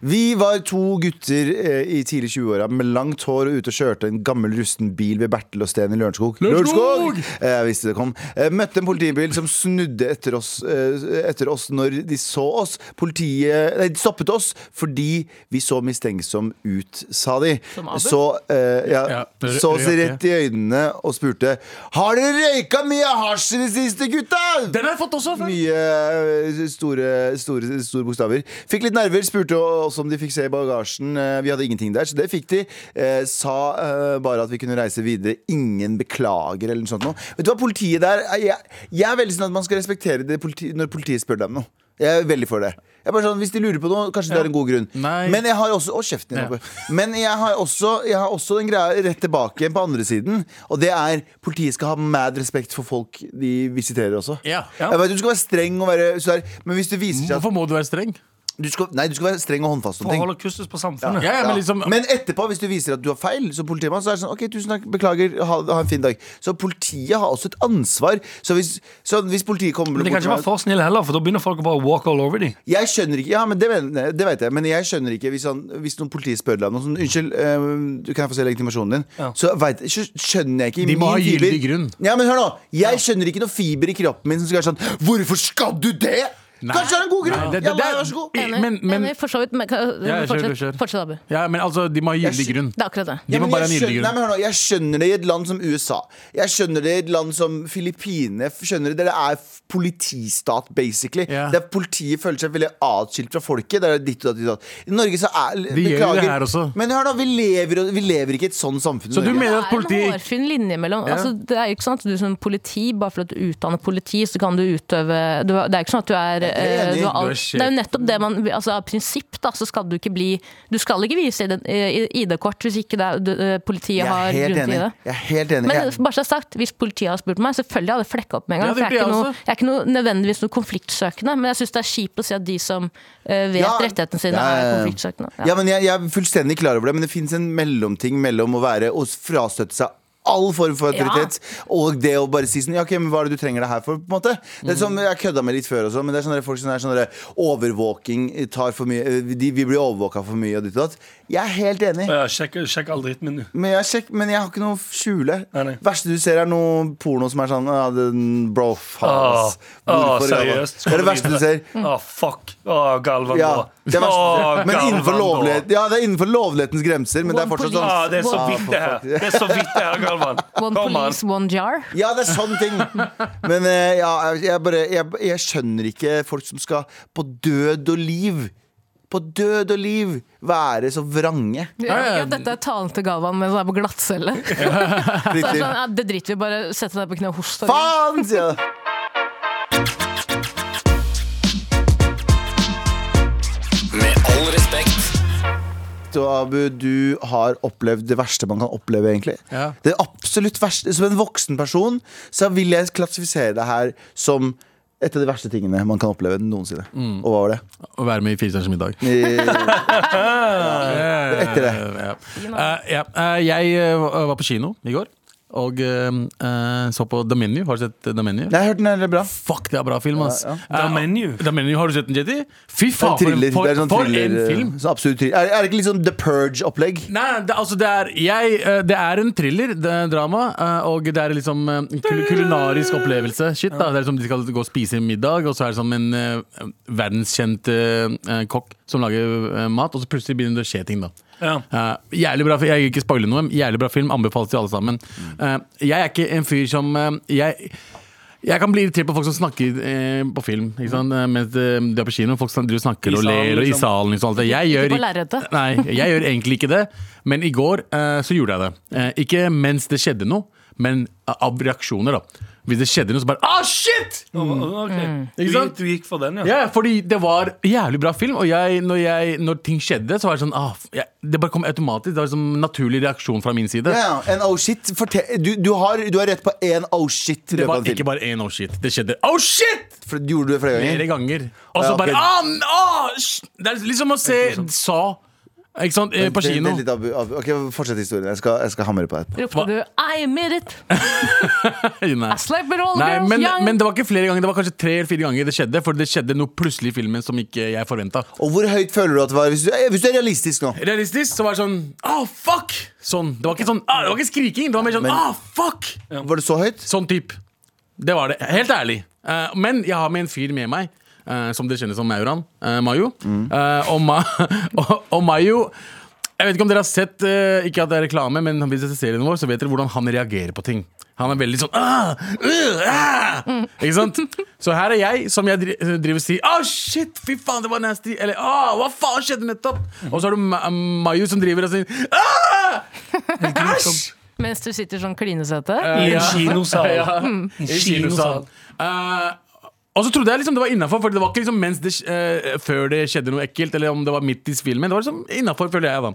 Vi var to gutter eh, i tidlig 20-åra med langt hår og ute og kjørte en gammel rusten bil ved Bertel og Steen i Lørenskog.
Lørenskog!
Eh, Jeg visste det kom. Eh, Møtte en politibil som snudde etter oss, eh, etter oss når de så oss. Politiet nei, de stoppet oss fordi vi så mistenksom ut, sa de.
Som Abu?
Så, eh, ja,
Ja, det-
så oss
det-
rett i øynene og spurte Har dere røyka mye hasj i det siste, gutta?
Den har jeg fått også! før.
Mye eh, store, store, store bokstaver. Fikk litt nerver, spurte også om de fikk se i bagasjen. Eh, Vi hadde ingenting der, så det fikk de. Eh, Sa eh, bare at vi kunne reise videre. Ingen beklager eller noe sånt. Noe. Vet du hva, politiet der eh, Jeg, jeg er veldig sånn at man skal respektere det politi, når politiet spør deg om noe. Jeg er veldig for det. Jeg er bare sånn, hvis de lurer på noe, kanskje det er en god grunn.
Nei.
Men jeg har også Å, kjeften din.
Ja.
Abu. Men jeg har også, jeg har også den greia rett tilbake igjen på andre siden. Og det er politiet skal ha mad respekt for folk de visiterer også.
Ja.
Jeg vet, du skal være streng og være så der, Men hvis du viser seg at
Hvorfor må du være streng?
du skal, Nei, du skal være streng og håndfast om ting.
Forholder kustus på samfunnet.
Ja, ja, men
Ja.
liksom
Men etterpå, hvis du viser at du har feil som politimann, så er det sånn OK, tusen takk, beklager, ha, ha en fin dag. Så politiet har også et ansvar. Så hvis, så hvis politiet kommer
Men det kan ikke
meg-
være for snill heller, for da begynner folk å bare walk all over dem.
Jeg skjønner ikke, ja, men det, mener, det vet jeg Men jeg skjønner ikke hvis, han, hvis noen politi spør deg om noe sånn, Unnskyld, eh, du kan jeg få se legitimasjonen din
Ja.
så, vet, så skjønner jeg ikke i
De
min
må ha
fiber-
gyldig grunn.
Ja, men hør nå Jeg skjønner ikke noe fiber i kroppen min som skal være sånn Hvorfor skal du det? Kanskje det er en god grunn
Nei, det-
Ja,
det-
nei,
det-
vær så god
Men-
Enig,
men-
enig for så vidt. Men, kan-
Ja, kjør,
fortsett,
kjør.
fortsett, Abu.
Ja, men altså, de må ha gyldig grunn.
Det er akkurat det.
De
Ja,
må
men
bare ha en
jeg,
gyldig
skjønner, nei,
grunn.
men hør nå, jeg skjønner det i et land som USA. Jeg skjønner det i et land som Filippinene. Jeg skjønner det, det er f- politistat, basically.
Ja.
Der politiet føler seg veldig atskilt fra folket. Det er ditt og datt, ditt og datt. I Norge så er
De gjør jo det her også.
Men hør nå, vi lever, vi lever ikke i et sånn samfunn. i
Så du
Norge.
Det
mener at
er en
politiet
hårfin linje mellom altså, Det er jo ikke sånn at du som politi, bare fordi du utdanner politi, så kan du utøve du, har- Det er ikke sånn at du er,
er
eh,
enig.
Du
du har
er
alt,
sjef.
Det er jo nettopp det man altså, Av prinsipp, da, så skal du ikke bli Du skal ikke vise ID- eh, ID-kort hvis ikke det er, du, eh, politiet
jeg
har
er helt
grunn til
enig.
det.
Jeg er helt enig.
Men
Jeg-
bare så det er sagt, hvis politiet hadde spurt meg, selvfølgelig hadde jeg flekka opp med en gang.
Ja, det
for jeg er,
blir
ikke
jeg
noe,
også.
jeg er ikke noe nødvendigvis noe konfliktsøkende, men jeg syns det er kjipt å si at de som eh, vet
Ja.
rettighetene sine,
Ja, ja, ja.
er konfliktsøkende.
Ja, men jeg, jeg er fullstendig klar over det, men det fins en mellomting mellom å være og frastøtte seg all form for autoritet og det å bare si sånn Ja, ok, men hva er det du trenger det her for, på en måte? Det er som jeg kødda med litt før også, men det er sånne folk som er sånn der overvåking tar for mye eh, de, Vi blir overvåka for mye og ditt og datt. Jeg er helt enig.
Ja, sjekk, sjekk all dritten min, du.
Men jeg, sjekk, men jeg har ikke noe skjule.
Nei, nei.
verste du ser, er noe porno som er sånn ja, den, Bro, faen, ass.
Åh,
Hvorfor, ja, da?
seriøst.
Det er det verste du ser.
Å, Mm. Ah, fuck. Å, Galvan.
Ja,
da.
det er verste du ser.
Å,
Men
Galvan,
innenfor,
da.
lovlighet, ja, det er innenfor lovlighetens grenser, men det er fortsatt
Ja,
sånn
det er så
Ah,
vidt det her. Det er så vidt det her, Galvan.
*laughs* One
Kom an.
police, one jar.
Ja, det er sånne ting. *laughs* Men eh, ja, jeg, jeg bare jeg, jeg skjønner ikke folk som skal på død og liv På død og liv være så vrange.
Ja,
ja.
ja, dette er talen til Galvan mens han er på glattcelle. Så er det
*laughs*
sånn, ja, det driter vi i, bare sette deg på kne og host.
Faen, sier jeg.
Med all respekt.
Så, Abu, du har opplevd det verste man kan oppleve, egentlig.
Ja.
Det absolutt verste Som en voksen person så vil jeg klassifisere det her som et av de verste tingene man kan oppleve noensinne. Og hva var det?
Å være med i Firestjerners middag.
Eh,
Etter
det.
Ja. Eh, ja. Eh, jeg eh, var på kino i går og eh, eh, så på The Menu. Har du sett The Menu?
Jeg har hørt den er bra.
Fuck, det er bra film, ass.
The
Eh,
Menu.
The Menu, Har du sett den, Jetty? Fy
En
faen, for, en-
thriller.
for,
det er sånn
for en
thriller, eh,
film!
sånn absolutt thriller. Er, er det ikke litt sånn The Purge-opplegg?
Nei, det, altså det er, jeg, eh, det er en thriller, det er en drama, eh, og det er liksom eh, en kul kulinarisk opplevelse. Shit da, Det er liksom De skal gå og spise middag, og så er det som en eh, verdenskjent eh, eh, kokk som lager eh, mat, og så plutselig begynner det å skje ting. da
Ja.
Eh, jævlig bra, fi- Jeg vil ikke spoile noe, men jævlig bra film. Anbefales til alle sammen. Eh, jeg er ikke en fyr som eh, jeg, jeg kan bli irritert på folk som snakker eh, på film. Ikke sant? Eh, Mens eh, de er på kino. Folk snak- driver og snakker
I
og
salen,
ler og i
liksom.
salen. Liksom, alt det. Jeg
Ikke
gjør,
på
*laughs*
lerretet.
Nei, jeg gjør egentlig ikke det, men i går eh, så gjorde jeg det. Eh, ikke mens det skjedde noe, men av reaksjoner, da. Hvis det skjedde noe, så bare Ah, shit!
Mm.
Oh, ok. Du,
Ikke sant?
gikk- du gikk for den, ja.
Ja, fordi det var jævlig bra film, og jeg, når, jeg, når ting skjedde, så var det sånn ah, f- jeg, Det bare kom automatisk. Det var en sånn naturlig reaksjon fra min side.
Ja, ja, en oh shit fortel- du, du, har, du har rett på en oh shit i
Det
løpet av
var
en film.
ikke bare én oh shit. Det skjedde oh shit!
For, du gjorde det flere ganger?
flere ganger. Og
Ja,
så
ok.
bare ah, n- ah, sh-» Det er liksom å se Sa ikke sant, eh, på
sånn. Det- det er
kino.
litt av- av- Ok, Fortsett historien. Jeg skal, jeg skal hamre på det.
Ropte du 'I made it'?
Nei.
I slept with all the
Nei,
girls
men,
young.
men det var ikke flere ganger. Det var kanskje tre eller fire ganger det skjedde. For det skjedde noe plutselig i filmen som ikke jeg forventa.
Og hvor høyt føler du at det var? Hvis du, eh, hvis du er realistisk nå.
Realistisk så var det sånn ah, fuck! Sånn. Det var ikke sånn ah, Det var ikke skriking. Det var mer sånn
Men-
ah, fuck!
Var det så høyt?
Sånn type. Det var det. Helt ærlig. Eh, men jeg har med en fyr med meg, eh, som dere kjenner som Mauran. eh, Mayo. Eh, og, Ma *laughs* og, og Mayo Jeg vet ikke om dere har sett eh, Ikke at det er reklame, men hvis dere ser serien vår, så vet dere hvordan han reagerer på ting. Han er veldig sånn «Ah! Uh! Ah!» Ikke sant? Så her er jeg, som jeg dri- driver og sier Å, shit! Fy faen, det var nasty! Eller Åh, hva faen skjedde nettopp? Og så har du Ma Mayo som driver og sier «Ah!» Æsj!
Mens du sitter sånn klinesete?
I en
Ja.
kinosal.
Ja.
Mm.
En
I kinosal.
kinosal.
Eh, og så trodde jeg liksom det var innafor, for det var ikke liksom mens det, eh, før det skjedde noe ekkelt. Eller om det var midt i filmen. Det var liksom innafor, føler jeg. da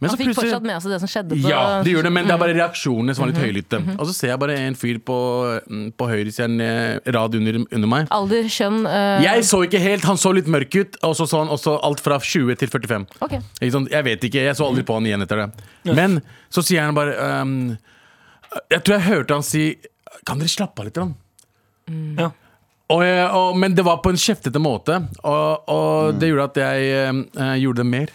Men
Han fikk fortsatt med Mm. Mm-hmm. seg det som skjedde. På,
ja, det gjør det, men det er bare reaksjonene som var litt høylytte. Og så ser jeg bare en fyr på, mm, på høyresiden eh, rad under, under meg.
Alder, kjønn eh,
Jeg så ikke helt, han så litt mørk ut, og så så han også alt fra 20 til 45.
Ok. Mm.
Ikke sant? Jeg vet ikke, jeg så aldri på han igjen etter det. Men så sier han bare ehm, Jeg tror jeg hørte han si Kan dere slappe av litt? grann?»
Ja.
Og, jeg- og, men det var på en kjeftete måte, og, og
Mm.
det gjorde at jeg ehm, eh, gjorde det mer.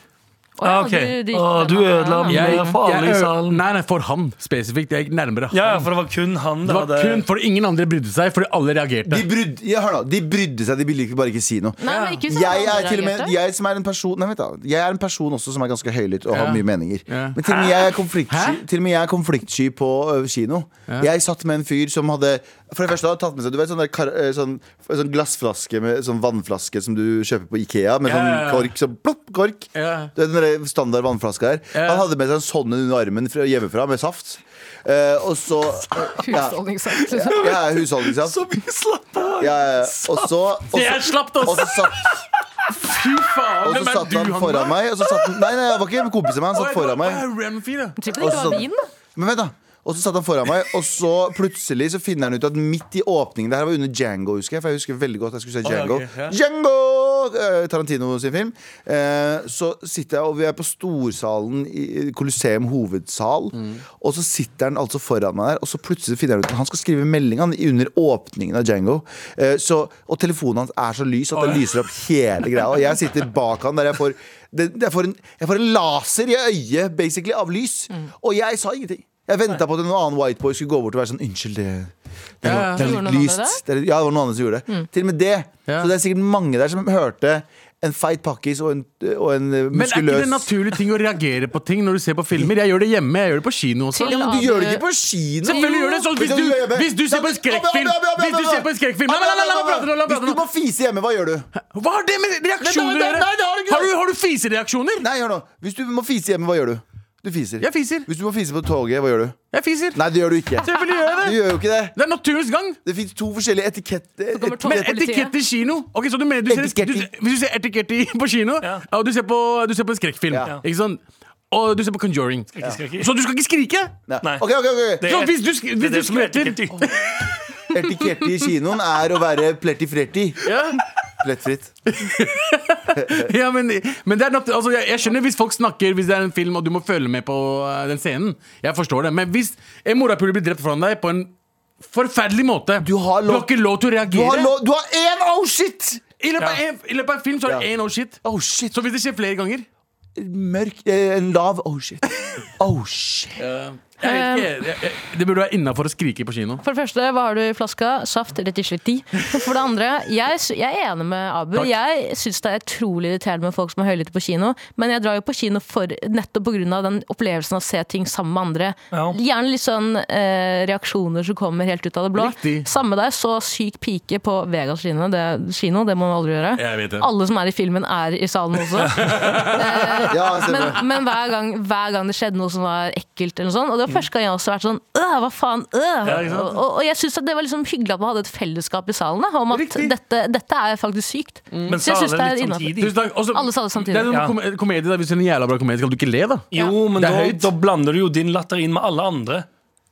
Å ja,
Ah, ok.
du- du
Ah,
gikk på
du
den, ja.
ødela den.
Jeg,
Ja, for alle i
jeg-
salen.
Nei, nei, for han spesifikt. Jeg gikk nærmere han.
ja, ja, for det var kun han
det
der.
var kun for ingen andre brydde seg, fordi alle reagerte.
De brydde, ja, hør nå, de brydde seg, de ville ikke- bare ikke si noe.
Nei, men ikke sånn
Jeg
han
er til og med
reagerte.
Jeg som er en person Nei, vent da Jeg er en person også som er ganske høylytt og har
Ja.
mye meninger.
Ja.
Men til og med jeg er konfliktsky,
Hæ?
til og med jeg er konfliktsky på ø, kino. Jeg satt med en fyr som hadde For det første hadde tatt med seg Du vet sånn, der, kar, ø, sånn, sånn glassflaske med sånn vannflaske som du kjøper på Ikea, med
Ja,
sånn
ja, ja.
kork. Sånn plopp, kork.
Ja.
Det er den der standard vannflaska her.
Ja.
Han hadde med seg en sånn under armen fra, hjemmefra med saft. Eh, og så
*laughs*
ja,
Husholdningsakt.
ja, husholdningssaft.
Så mye slapp av!
Ja, ja, ja. og så og så-
Jeg slapp *laughs* det
og
også!
så satt
Fy
og
faen!
så
hvem er
satt
du,
han foran meg. Og så satt han, nei, nei, jeg var ikke en kompis av meg. Han satt foran meg.
Å, random fyr, ja.
Tipper
Og
det
så
ikke var
satt-
vin, da.
Men vent da og så satt han foran meg, og så plutselig så finner han ut at midt i åpningen Det her var under Django, husker jeg. For jeg husker veldig godt jeg skulle se
ja,
Django.
ok, ja.
Django! eh, Tarantino sin film. Eh, Så sitter jeg, og vi er på storsalen i Colosseum hovedsal.
Mm.
Og så sitter han altså foran meg der, og så plutselig finner han ut at han skal skrive melding han, under åpningen av Django. Eh, Så, og telefonen hans er så lys at det lyser opp hele greia. Og jeg sitter bak han der jeg får, det, jeg får, en, jeg får en laser i øyet, basically, av lys.
Mm.
Og jeg sa ingenting. Jeg venta på at en annen white boy skulle gå bort og være sånn Unnskyld, det, det,
Ja, ja.
det er
Gjorde
litt
noen
lyst.
andre
Det er, litt- ja, det var noen andre som gjorde det. Til og med det.
Ja.
Så det er sikkert mange der som hørte en feit pakkis og en, og en eh,
Men er ikke det
muskuløs
en naturlig ting å reagere på ting når du ser på filmer? Jeg gjør det hjemme, jeg gjør det på kino også.
Til-
ja, men Du gjør det ikke på kino!
Selvfølgelig gjør det sånn hvis du, hvis du ser på en skrekkfilm Hvis du ser på en skrekkfilm La meg- la meg- la meg prate, nå, la meg
Hvis
prate
du må
nå.
fise hjemme, hva gjør du?
Hva har det med reaksjoner å
Nei, nei,
gjøre?
nei, det har det ikke.
Har du, har du fisereaksjoner?
Nei, hør nå. Hvis du må fise hjemme, hva gjør du? Du fiser.
Jeg fiser.
Hvis du må fise på toget, hva gjør du?
Jeg fiser.
Nei, det gjør du ikke.
Selvfølgelig gjør
Du
jeg det.
gjør jo ikke det.
Det er naturens gang.
Det fins to forskjellige etiketter.
kommer toget.
Men etikett i kino Ok, så du mener du ser,
Etikett i-
du, Hvis du ser etikett i, på kino,
Ja.
ja, og du ser på, du ser på en skrekkfilm,
Ja.
ikke sant? Og du ser på Conjuring.
Ikke skrekk i.
Så du skal ikke skrike!
Nei.
Nei.
Ok, ok, ok
Det
Så
er-
hvis du, sk-
Det
hvis
er
du
det som er
skvetter
etikett i.
Etikette i kinoen er å være plerti-flerti.
*laughs* ja.
Plettfritt.
Ja, men, men det er natt, altså, jeg, jeg skjønner hvis folk snakker Hvis det er en film og du må følge med på eh, den scenen Jeg forstår det, men hvis en morapuler blir drept foran deg På en forferdelig måte
Du har lov-
ikke lov til å
Du har
reagere
lov- du har én oh shit!
I, løpet av en, I løpet av en film så er
Ja.
det en oh shit
Oh shit.
Så hvis det skjer flere ganger
Mørk eh, En lav oh shit. Oh shit.
jeg vet ikke, jeg, jeg, Eh, Det burde være innenfor å skrike på kino
For det første, hva har du i flaska? Saft, rett og slett i. For det andre, jeg, sy- jeg er enig med Abu.
Takk.
Jeg syns det er utrolig irriterende med folk som er høylytte på kino, men jeg drar jo på kino for, nettopp pga. den opplevelsen av å se ting sammen med andre.
Ja.
Gjerne litt sånn eh, reaksjoner som kommer helt ut av det blå.
Riktig.
Samme der, så syk pike på Vegas kino, det, kino, det må man aldri gjøre.
Jeg vet det.
Alle som er i filmen, er i salen også.
*laughs*
*laughs*
Ja, jeg ser det.
Men, men hver, gang, hver gang det skjedde noe som var ekkelt, eller noe sånt, og det var første gang jeg også har vært sånn øh, hva faen, øh.
Ja, ikke sant?
og, og jeg syns det var liksom hyggelig at man hadde et fellesskap i salen da, om at
Riktig.
dette, dette er faktisk sykt.
Mm. Men
Så jeg
sa
synes
det
det er
litt sånn
innenfor.
samtidig.
Tusen takk. Også-
Alle sa det samtidig.
Det er noen
Ja.
kom komedie der, Hvis det er en jævla bra komedie, skal du ikke le, da?
Jo, men
Det er
da,
høyt.
da blander du jo din latter inn med alle andre.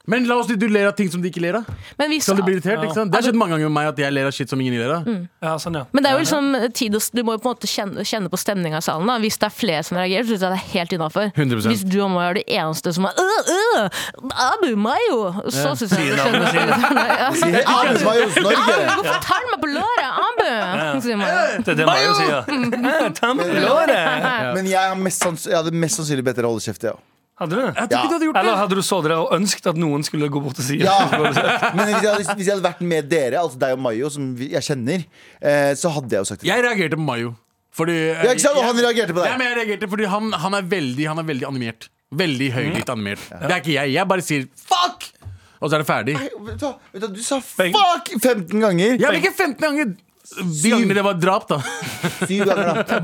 Men la oss si du ler av ting som de ikke ler av.
Men, vi,
Skal du bli
men
irritert, ikke sant? Det har skjedd mange ganger med meg at jeg ler av shit som ingen ler av.
Mm.
Ja, sånn, ja.
det er jo liksom tid å, Du må jo på en måte kjenne, kjenne på stemninga i salen. Da. Hvis det er flere som reagerer, så syns jeg det er helt innafor.
100%.
Hvis du og meg er det eneste som er øh, øh, Abu Mayo, så syns jeg det
navnet
skjønner.
Det er Anders Majos Norge.
Hvorfor tar du meg på låret, Abu? sier man.
Det er det Mayo sier. Ja, ta med låret.
Men jeg, er mest sanns- jeg hadde mest sannsynlig bedt dere holde kjeft. Ja.
Hadde du det?
Jeg tror ikke
Ja.
du hadde gjort det.
Eller hadde du så det der og ønsket at noen skulle gå bort og si det?
Ja, men hvis jeg, hadde, hvis jeg hadde vært med dere, altså deg og Mayo, som vi- jeg kjenner, eh, så hadde jeg jo sagt det.
Jeg reagerte på Mayo. Fordi,
Ja, ikke sant? Og han reagerte på deg.
Ja, men jeg reagerte fordi han, han, er veldig, han er veldig animert. Veldig
Mm.
høylytt animert. Det er ikke jeg. Jeg bare sier fuck! Og så er det ferdig.
Vet du, hva? Vet du, hva? du sa fuck 15 ganger.
Jeg ble ikke 15 ganger. De gangene det var drap, da. *laughs*
Syv ganger, da.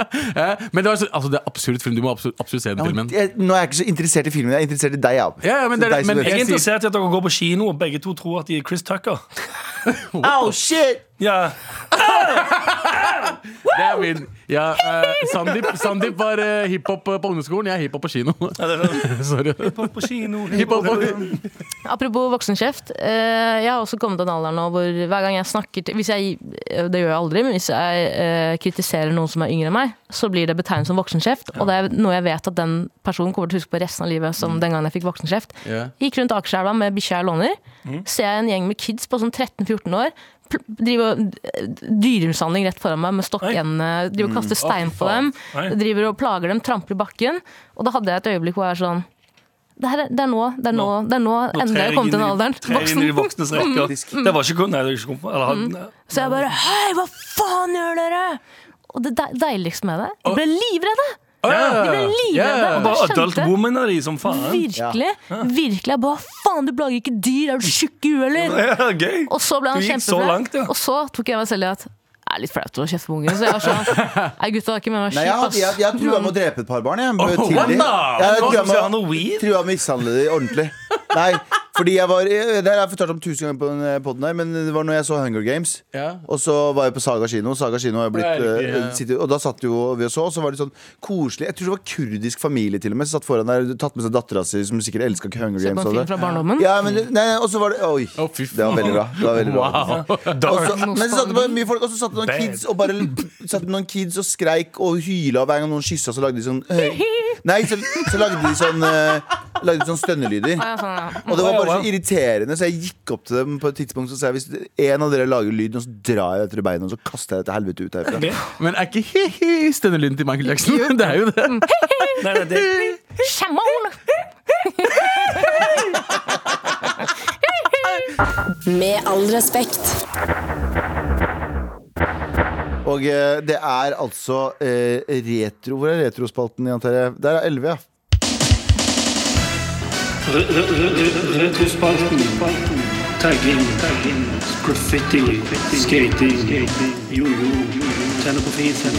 Eh, Men det, var så, altså, det er absurd film. Du må absolutt, absolutt se den filmen.
Jeg, nå er jeg ikke så interessert i filmen. Jeg er interessert i deg, Ab.
Ja, ja, men det er-
deg som
men
vet.
Jeg
Jeg
er
sier-
interessert i at dere går på kino og begge to tror at de er Chris Tucker.
Oh, shit!
Ja,
Det er min. Ja, eh, Sandeep, Sandeep var eh, hiphop på ungdomsskolen. Jeg er hiphop på kino.
ja det er
*laughs*
det.
Sorry.
Hiphop på kino.
Hiphop på
Apropos voksenkjeft. eh, jeg har også kommet til en alder nå hvor hver gang jeg snakker til hvis jeg, eh, Det gjør jeg aldri, men hvis jeg eh, kritiserer noen som er yngre enn meg, så blir det betegnet som voksenkjeft. Og det er noe jeg vet at den personen kommer til å huske på resten av livet som den gangen jeg fikk voksenkjeft.
Ja.
Gikk rundt Akerselva med bikkja jeg låner. Ser jeg en gjeng med kids på sånn 13-14 år. pl- Driver og eh, Dyremishandling rett foran meg med stokkendene. Driver og kaster stein på dem.
Nei.
Driver og plager dem, trampler i bakken. Og da hadde jeg et øyeblikk hvor jeg er sånn det, her, er- det er nå, det er nå, det er nå, endelig har jeg kommet til den alderen.
Tre inn i de
Voksen. Mm.
voksnes rekker. Det var ikke Nei, det er ikke kommet Eller han-
Så jeg bare Hei, hva faen gjør dere?! Og det de- deiligste med det De ble livredde! De ble
Ah,
livredde.
Ja.
Og
Bare
jeg
adult
skjønte
woman er de som faen.
virkelig Virkelig jeg bare Faen, du plager ikke dyr! Er du tjukk i huet, eller?!
Ja, gøy.
Og så ble han
Du gikk så
kjempeflau.
langt, ja.
Og så tok jeg meg selv i at det er litt flaut å kjefte på ungen. Så jeg var sånn Nei, gutta, det er ikke mer
Nei, jeg, hadde, jeg,
kjipt,
jeg trua med å drepe et par barn. Jeg,
Oh,
tidlig. jeg,
Wanda!
trua
Skal han
med,
ha noe weed?
trua med å mishandle dem ordentlig. Nei, fordi jeg var jeg- Det har jeg fortalt om tusen ganger på den eh, podden her, men det var når jeg så Hunger Games.
Ja.
Og så var jeg på Saga kino. Saga kino har jo blitt,
Det er riktig, ja.
eh, sitter- Og da satt jo vi og så, og så var det sånn koselig Jeg tror det var kurdisk familie til og med som satt foran der, tatt med seg dattera si, som sikkert elska Hunger
Se på
Games.
en
og
film
det.
fra barndommen.
Ja, men, det- nei, og så var det Oi,
Å, fy Altså, faen.
det var veldig bra. Det var veldig bra.
*laughs* Wow.
Og så- men så satt det bare mye folk, og så satt det noen
Bad.
kids og bare satt det noen kids og skreik og hyla. Og hver gang noen kyssa, så lagde de sånn
*laughs*
eh, Nei, så, så lagde de sånn eh, Lagde de sånn stønnelyder.
Ja, sånn, ja.
Og det var bare
Wow.
så irriterende, så jeg gikk opp til dem på et tidspunkt og sa jeg, hvis en av dere lager lyd, nå, så drar jeg dere i beina og så kaster jeg dette helvete ut
*laughs*
herfra.
Men er ikke hi-hi stønnelyden til Michael Jackson? *laughs* Det er jo det.
Nei, nei, det,
Shamon!
Med all respekt.
Og eh, det er altså eh, retro Hvor er retrospalten igjen, Terje? Der er 11, ja.
Retrospalten. Tagging. Graffiti. Skating. Jojo. Tenner på fisen.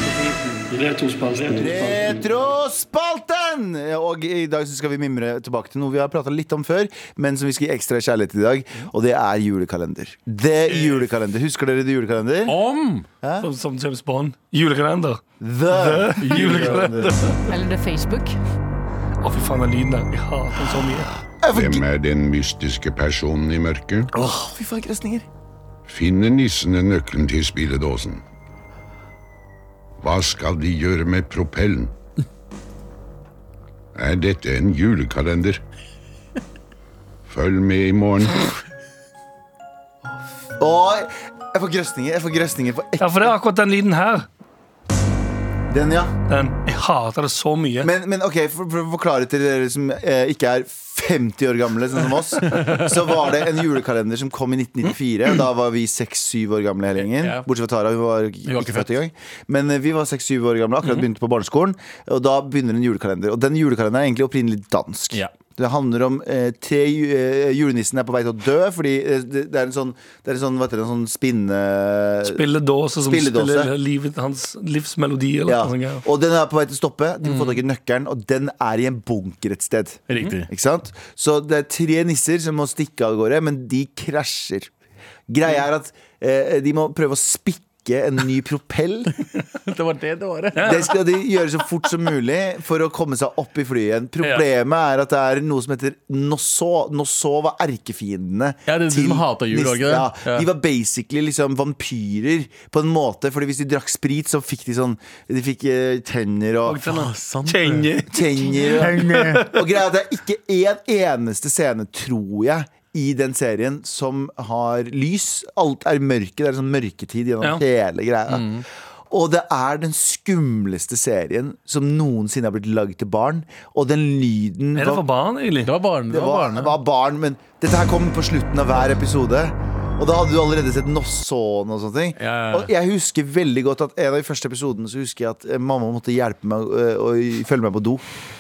Retrospalten.
Retrospalten! Og i dag så skal vi mimre tilbake til noe vi har prata litt om før, men som vi skal gi ekstra kjærlighet til i dag, og det er julekalender. The julekalender. Husker dere The julekalender?
Om
som, som James Bond. Julekalender.
The
Julekalender.
Eller det er Facebook.
Å, fy faen, den lyden der. Jeg hater den så mye.
Hvem er den mystiske personen i mørket?
Åh, Fy faen, krøsninger.
Finner nissene nøkkelen til spilledåsen? Hva skal de gjøre med propellen? Er dette en julekalender? Følg med i morgen.
Åh, Jeg får grøsninger. Jeg får grøsninger for
Ja, for det er akkurat den lyden her.
den, ja.
Den. Jeg hater det så mye.
Men, men ok, for, for å forklare til dere som eh, ikke er 50 år gamle, sånn som oss, så var det en julekalender som kom i 1994. og Da var vi 6-7 år gamle hele gjengen.
Ja.
Bortsett fra Tara, hun var ikke, ikke født engang. Men eh, vi var 6-7 år gamle, akkurat begynte på barneskolen. Og da begynner en julekalender. Og den julekalenderen er egentlig opprinnelig dansk.
Ja.
Det handler om eh, tre ju- eh, julenissen er på vei til å dø, fordi eh, det, det er en sånn, det er en sånn, hva heter det, en sånn spinne...
Spilledåse som
Spilledåse.
spiller livet, hans livsmelodi. Eller
Ja.
noe sånt. greier.
Og den er på vei til å stoppe. De må få tak i nøkkelen, og den er i en bunker et sted.
Riktig.
Ikke sant? Så det er tre nisser som må stikke av gårde, men de krasjer. Greia er at eh, de må prøve å spikke en ny propell.
Det var det det var.
Det skal de gjøre så fort som mulig for å komme seg opp i flyet igjen. Problemet er at det er noe som heter Nosso. Nosso var erkefiendene.
Ja, det er de
til
som hater jul,
nissen.
var ikke det?
Ja,
Ja.
de var basically liksom vampyrer på en måte, Fordi hvis de drakk sprit, så fikk de sånn De fikk eh, tenner og
Ah, sant.
Kjenge.
Tenner og, *laughs* og greia er at det er ikke en eneste scene, tror jeg i den serien som har lys Alt er mørke, det er sånn mørketid gjennom
Ja. Mm.
hele greia Og det er den skumleste serien Som noensinne har blitt laget til barn Og den lyden
Er det
var-
for barn, egentlig?
Det var barne.
det var, det var barn, men dette her kom på slutten av hver episode. Og da hadde du allerede sett Nossåen og sånne ting.
Ja, ja.
Og jeg husker veldig godt at en av de første episodene så husker jeg at eh, mamma måtte hjelpe meg eh, å følge meg på do.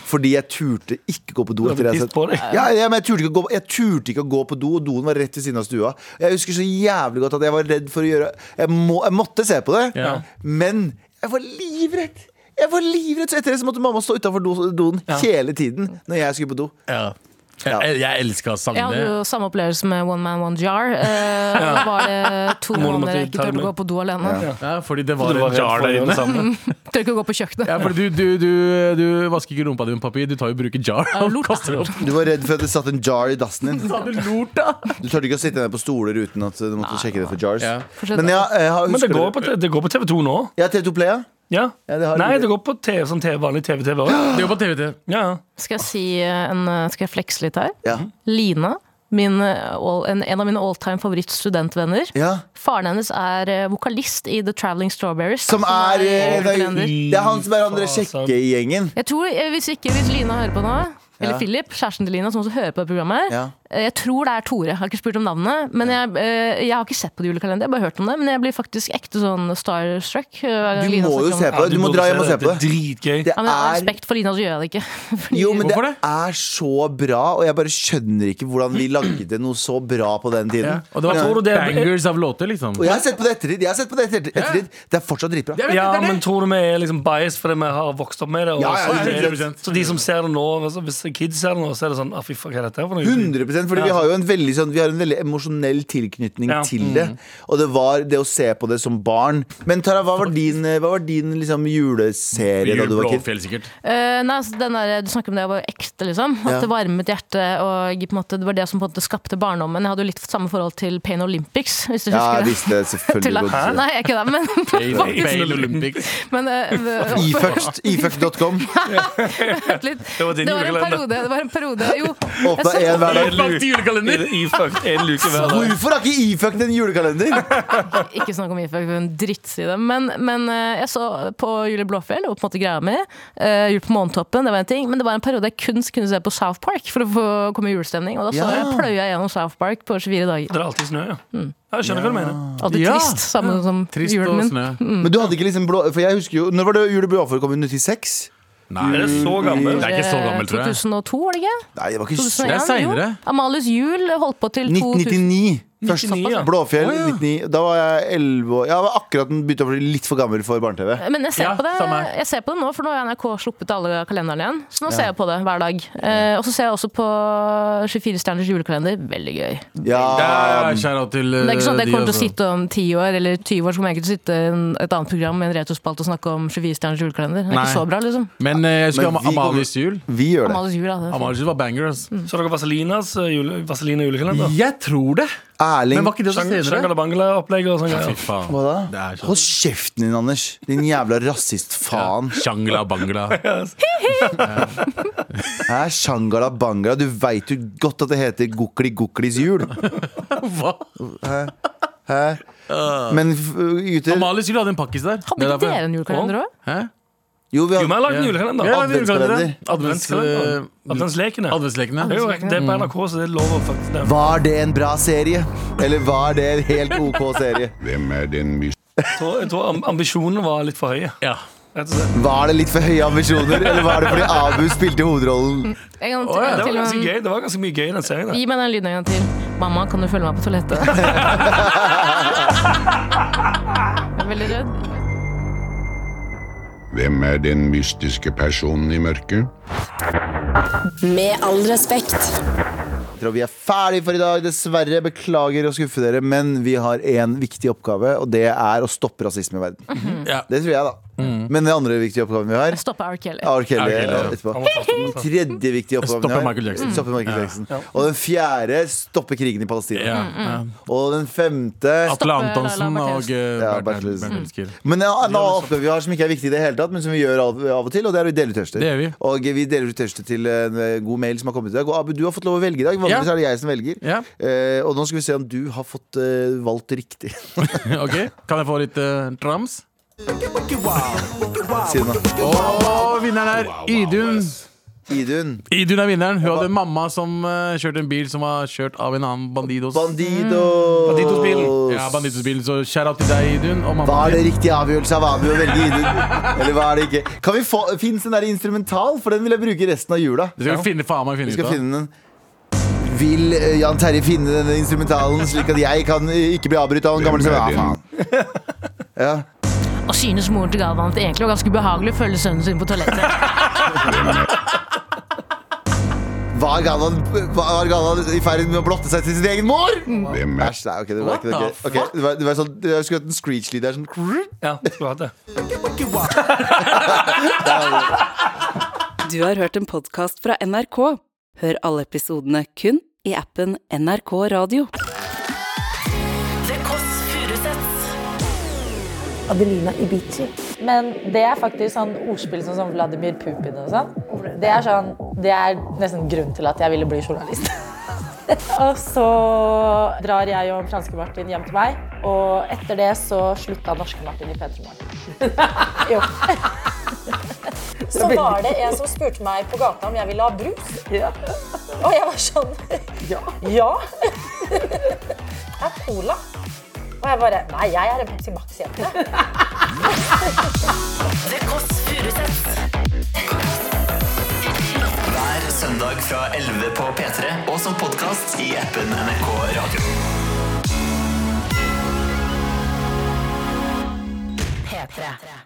Fordi jeg turte ikke gå på do.
Du hadde
etter det jeg
tist på deg.
ja, ja, men jeg turte, ikke å gå, jeg turte ikke å gå på do, og doen var rett ved siden av stua. Jeg husker så jævlig godt at jeg var redd for å gjøre Jeg, må, jeg måtte se på det,
Ja.
men jeg var livredd. Jeg var livredd, Så etter det så måtte mamma stå utafor do, doen hele tiden når jeg skulle på do.
Ja. Jeg, jeg elska
Jeg hadde
sangene.
jo samme opplevelse med One Man One Jar. Eh, og Da var det to
Moren måtte
måneder jeg ikke
ta
turte å
med.
gå på do alene.
Ja, fordi det var,
Det var
en-
jar der inne.
Tør ikke å gå på kjøkkenet.
Ja, fordi du, du, du, du vasker ikke rumpa di med papir, du tar jo bruker jar.
jo lort, da.
kaster det opp.
Du var redd for at det satt en jar i dassen din.
Sa du lort, da?
Du turte ikke å sitte ned på stoler uten at du måtte sjekke det for jars.
Ja.
Forstår
Men,
du?
ja, jeg har-
Men det
husker
går,
du-
på, det går på TV2 nå.
Ja, TV2 Play, ja.
Ja.
Ja, det har
Nei,
du-
det går på TV, sånn TV, vanlig TV-TV òg.
Det var på TVT.
Ja.
Skal jeg si eh, en eh, Skal jeg flekse litt her?
Ja.
Lina. Min, eh, all, en, en av mine alltime favorittstudentvenner.
ja.
Faren hennes er eh, vokalist i The Traveling Strawberries.
Som er eh, det er-
julekalender.
Det er han som er han dere
Fy faen.
sjekker i gjengen.
Jeg tror, eh, Hvis ikke hvis Lina hører på nå, eller
Ja.
Philip, kjæresten til Lina, som også hører på det programmet
Ja.
eh, Jeg tror det er Tore. Jeg har ikke spurt om navnet. Men jeg, eh, jeg har ikke sett på det julekalenderet, jeg har bare hørt om det. Men jeg blir faktisk ekte sånn starstruck.
Du må jo se på det. Du må dra hjem og se på
Det
det.
er dritgøy.
Det
Ja, men Av
er
respekt for Lina så gjør jeg det ikke. *laughs* Fordi-
jo, men det
Hvorfor det?
er så bra, og jeg bare skjønner ikke hvordan vi lagde noe så bra på den tiden.
Og det var
Men tror du det-
bangers av låter, liksom.
Og jeg har sett på det ettertid. Jeg har sett på det ettertid. ettertid. Det er fortsatt dritbra.
Jeg vet
Ja,
ikke, det er
men
det.
tror du vi er liksom biased fordi vi har vokst opp med det? Og
Ja, ja,
så, det
100%.
så de som ser det nå, altså, hvis kids ser det nå, så er det sånn ah, fy faen, hva er dette her for noe?
100 fordi vi har jo en veldig, sånn, vi har en veldig emosjonell tilknytning
Ja.
til det. Og det var det å se på det som barn. Men Tara, hva var din, hva var din liksom, juleserie da du var kid?
Blåfjell, sikkert.
Eh, nei, altså, den der, du snakker om det å være ekte, liksom. At
Ja.
det varmet hjertet. Og på en måte, det var det som på en måte skapte barndommen. Jeg hadde jo litt samme forhold til Pain Olympics, hvis du
Ja, jeg
husker det.
visste det
Tulla.
selvfølgelig. godt.
Nei, jeg er ikke det,
*laughs*
men, *laughs*
Bale Olympics.
*laughs*
men eh, v-
Ifucked- Ifucked.com.
vent litt.
var din
det var en
julekalender.
periode. Det var en periode.
*laughs*
Jo,
Åpna
Jeg
én hver dag.
Ødelagt sånn julekalender!
Ifucked en luke hver dag.
Hvorfor har ikke Ifucked en julekalender?
ikke snakk om IFK, en drittside. Men, men eh, jeg så på Julie Blåfjell og på en måte greia mi. eh, Jul på månetoppen, det var en ting. Men det var en periode jeg kun kunne se på South Park for å få komme i julestemning. Og da så
Ja.
jeg pløya gjennom South Park på 24 dager.
Det er alltid snø, ja. Ja, Jeg skjønner hva du mener.
Alltid
Ja.
trist, samme som
Trist
julen
og
min.
snø.
Men du hadde ikke liksom blå For jeg husker jo Når var det Jule Blåfor kom ut i 96?
Nei,
Er det så gammel?
Det er ikke så gammelt, tror jeg.
2002, var det ikke?
Nei, det var ikke så
2001,
Det er senere.
jo. Amalies jul holdt på til 2000.
1999. Først
99, ja.
Blåfjell. 99. Da var jeg 11 år. Jeg var akkurat begynt å bli litt for gammel for barne-TV.
Men jeg ser,
Ja,
på det,
samme her.
jeg ser på det nå, for nå har NRK sluppet alle kalenderne igjen. Så nå ser jeg på det hver dag. Eh, og så ser jeg også på 24 stjerners julekalender. Veldig gøy.
Ja,
Ja, shout-out til
Det er ikke sånn
Eh,
at jeg
de
kommer til å
også.
sitte om 10 år eller 20 år, så kommer jeg ikke til å sitte i en- et annet program med en retrospalt og snakke om 24 stjerners julekalender. Det er
Nei.
ikke så bra, liksom.
Men eh, jeg husker
Men
Am-
vi kommer-
Amalies jul.
vi gjør det.
Amalies jul, da. det er fint.
Amalies jul var altså. bangers.
Så dere Vaselinas eh, jule, Vaseline
Mm.
julekalender?
Jeg tror det.
Erling
Men var ikke det så senere?
Sjangala-bangla-opplegget og sånn
Fy
greier.
faen.
Hva da?
Det er sånn.
Hold kjeften din, Anders. Din jævla rasist-faen.
Shangla bangla. *laughs*
Hæ? Shangala Bangla. Du veit jo godt at det heter Gokli Goklis jul.
Hva?
Hæ? Men f- gutter
Amalies jul hadde en pakkis der.
Hadde ikke
Det er derfor-
dere en julekalender òg?
Hæ?
Jo, vi
Jo, vi
har
har lagd en
Ja.
julekalender.
Ja,
Ad-
det er julekalender.
Adventskalender.
Advents,
Adventskalenderen.
eh,
Adventslekene.
Adventslekene.
Det er jo riktig, det er på NRK, så det er lov å faktisk nevne.
Var det en bra serie? Eller var det en helt OK serie?
Hvem er den
Jeg tror- Jeg tror amb- ambisjonene var litt for høye.
Ja.
Rett og slett.
Var det litt for høye ambisjoner, eller var det fordi Abu spilte hovedrollen?
En gang
Å,
til.
ja, det var
til
ganske
men-
gøy. Det var ganske mye gøy i den serien. der.
Gi meg den lyden en gang til. Mamma, kan du følge meg på toalettet? Jeg er veldig redd.
Hvem er den mystiske personen i mørket?
Med all respekt.
Jeg tror vi er ferdig for i dag. Dessverre. Beklager å skuffe dere, men vi har én viktig oppgave, og det er å stoppe rasisme i verden.
Ja. Mm.
Det tror jeg, da. Men den andre viktige oppgaven vi har
Stoppe R. Kelly.
R. Kelly
R. Kelly, ja.
etterpå.
Han var fast om det, så.
Tredje viktige oppgaven vi
Stoppe
har.
Michael Jackson.
Stoppe Michael Jackson. Og den fjerde stoppe krigen i Palestina.
Mm,
Ja.
Og den femte
Atle Antonsen
Laila
og eh,
Ja,
Bernt-
Bernt Lesen.
Bernt Elsker.
Men en annen oppgave vi har som ikke er viktig i det hele tatt, men som vi gjør av, av og til, og det er å dele ut tørster.
Det gjør vi.
Og vi deler ut tørster til en eh, god mail som har kommet i dag. Og Abu, du har fått lov å velge i dag. Vanligvis
Ja.
er det jeg som velger.
Ja.
Eh, og nå skal vi se om du har fått eh, valgt riktig. *laughs*
Mm.
Ok, Kan jeg få litt eh, trams?
Siden da.
Og vinneren er Idun.
Idun.
Idun er vinneren. Hun hadde mamma som eh, kjørte en bil som var kjørt av en annen bandidos.
Bandido.
Bandidosbilen.
Ja, banditosbil, så kjære til deg, Idun. Og mamma
Var det riktig avgjørelse av Abu å velge Idun? Eller var det ikke? Kan vi få, Fins den der instrumental? For den vil jeg bruke resten av jula.
Det skal vi finne faen meg
Vi
finne ut
skal
av.
finne den. Vil eh, Jan Terje finne denne instrumentalen, slik at jeg kan eh, ikke bli avbrutt av en gammel
Hvem
sønn?
er
Ja,
den?
faen. Ja.
Og synes moren til Galvan at det egentlig var ganske ubehagelig å følge sønnen sin på toalettet.
Var Galvan, var Galvan i ferd med å blotte seg til sin egen mor?
Hvem er
Æsj, nei, ok, det var ikke det.
What
var ikke-
the
ok, det var, det var sånn, jeg skulle hatt en screech-lyd der. Sånn.
Ja, skulle hatt det.
Du har hørt en podkast fra NRK. Hør alle episodene kun i appen NRK Radio.
Adelina Ibici. Men det er faktisk sånn ordspill som sånn Vladimir Putin og sånn. Det er, sånn, det er nesten grunnen til at jeg ville bli journalist. *laughs* og så drar jeg og franske-Martin hjem til meg, og etter det så slutta norske-Martin i P3 Morgen. *laughs* jo.
Så var det en som spurte meg på gata om jeg ville ha brus.
Ja.
Og jeg var sånn
Ja.
*laughs* Ja. Det er cola. Og jeg bare Nei, jeg er en Pepsi Max-jente. Det Kåss Furuseths.
Hver søndag fra 11 på P3 og som podkast i appen NRK Radio.
P3.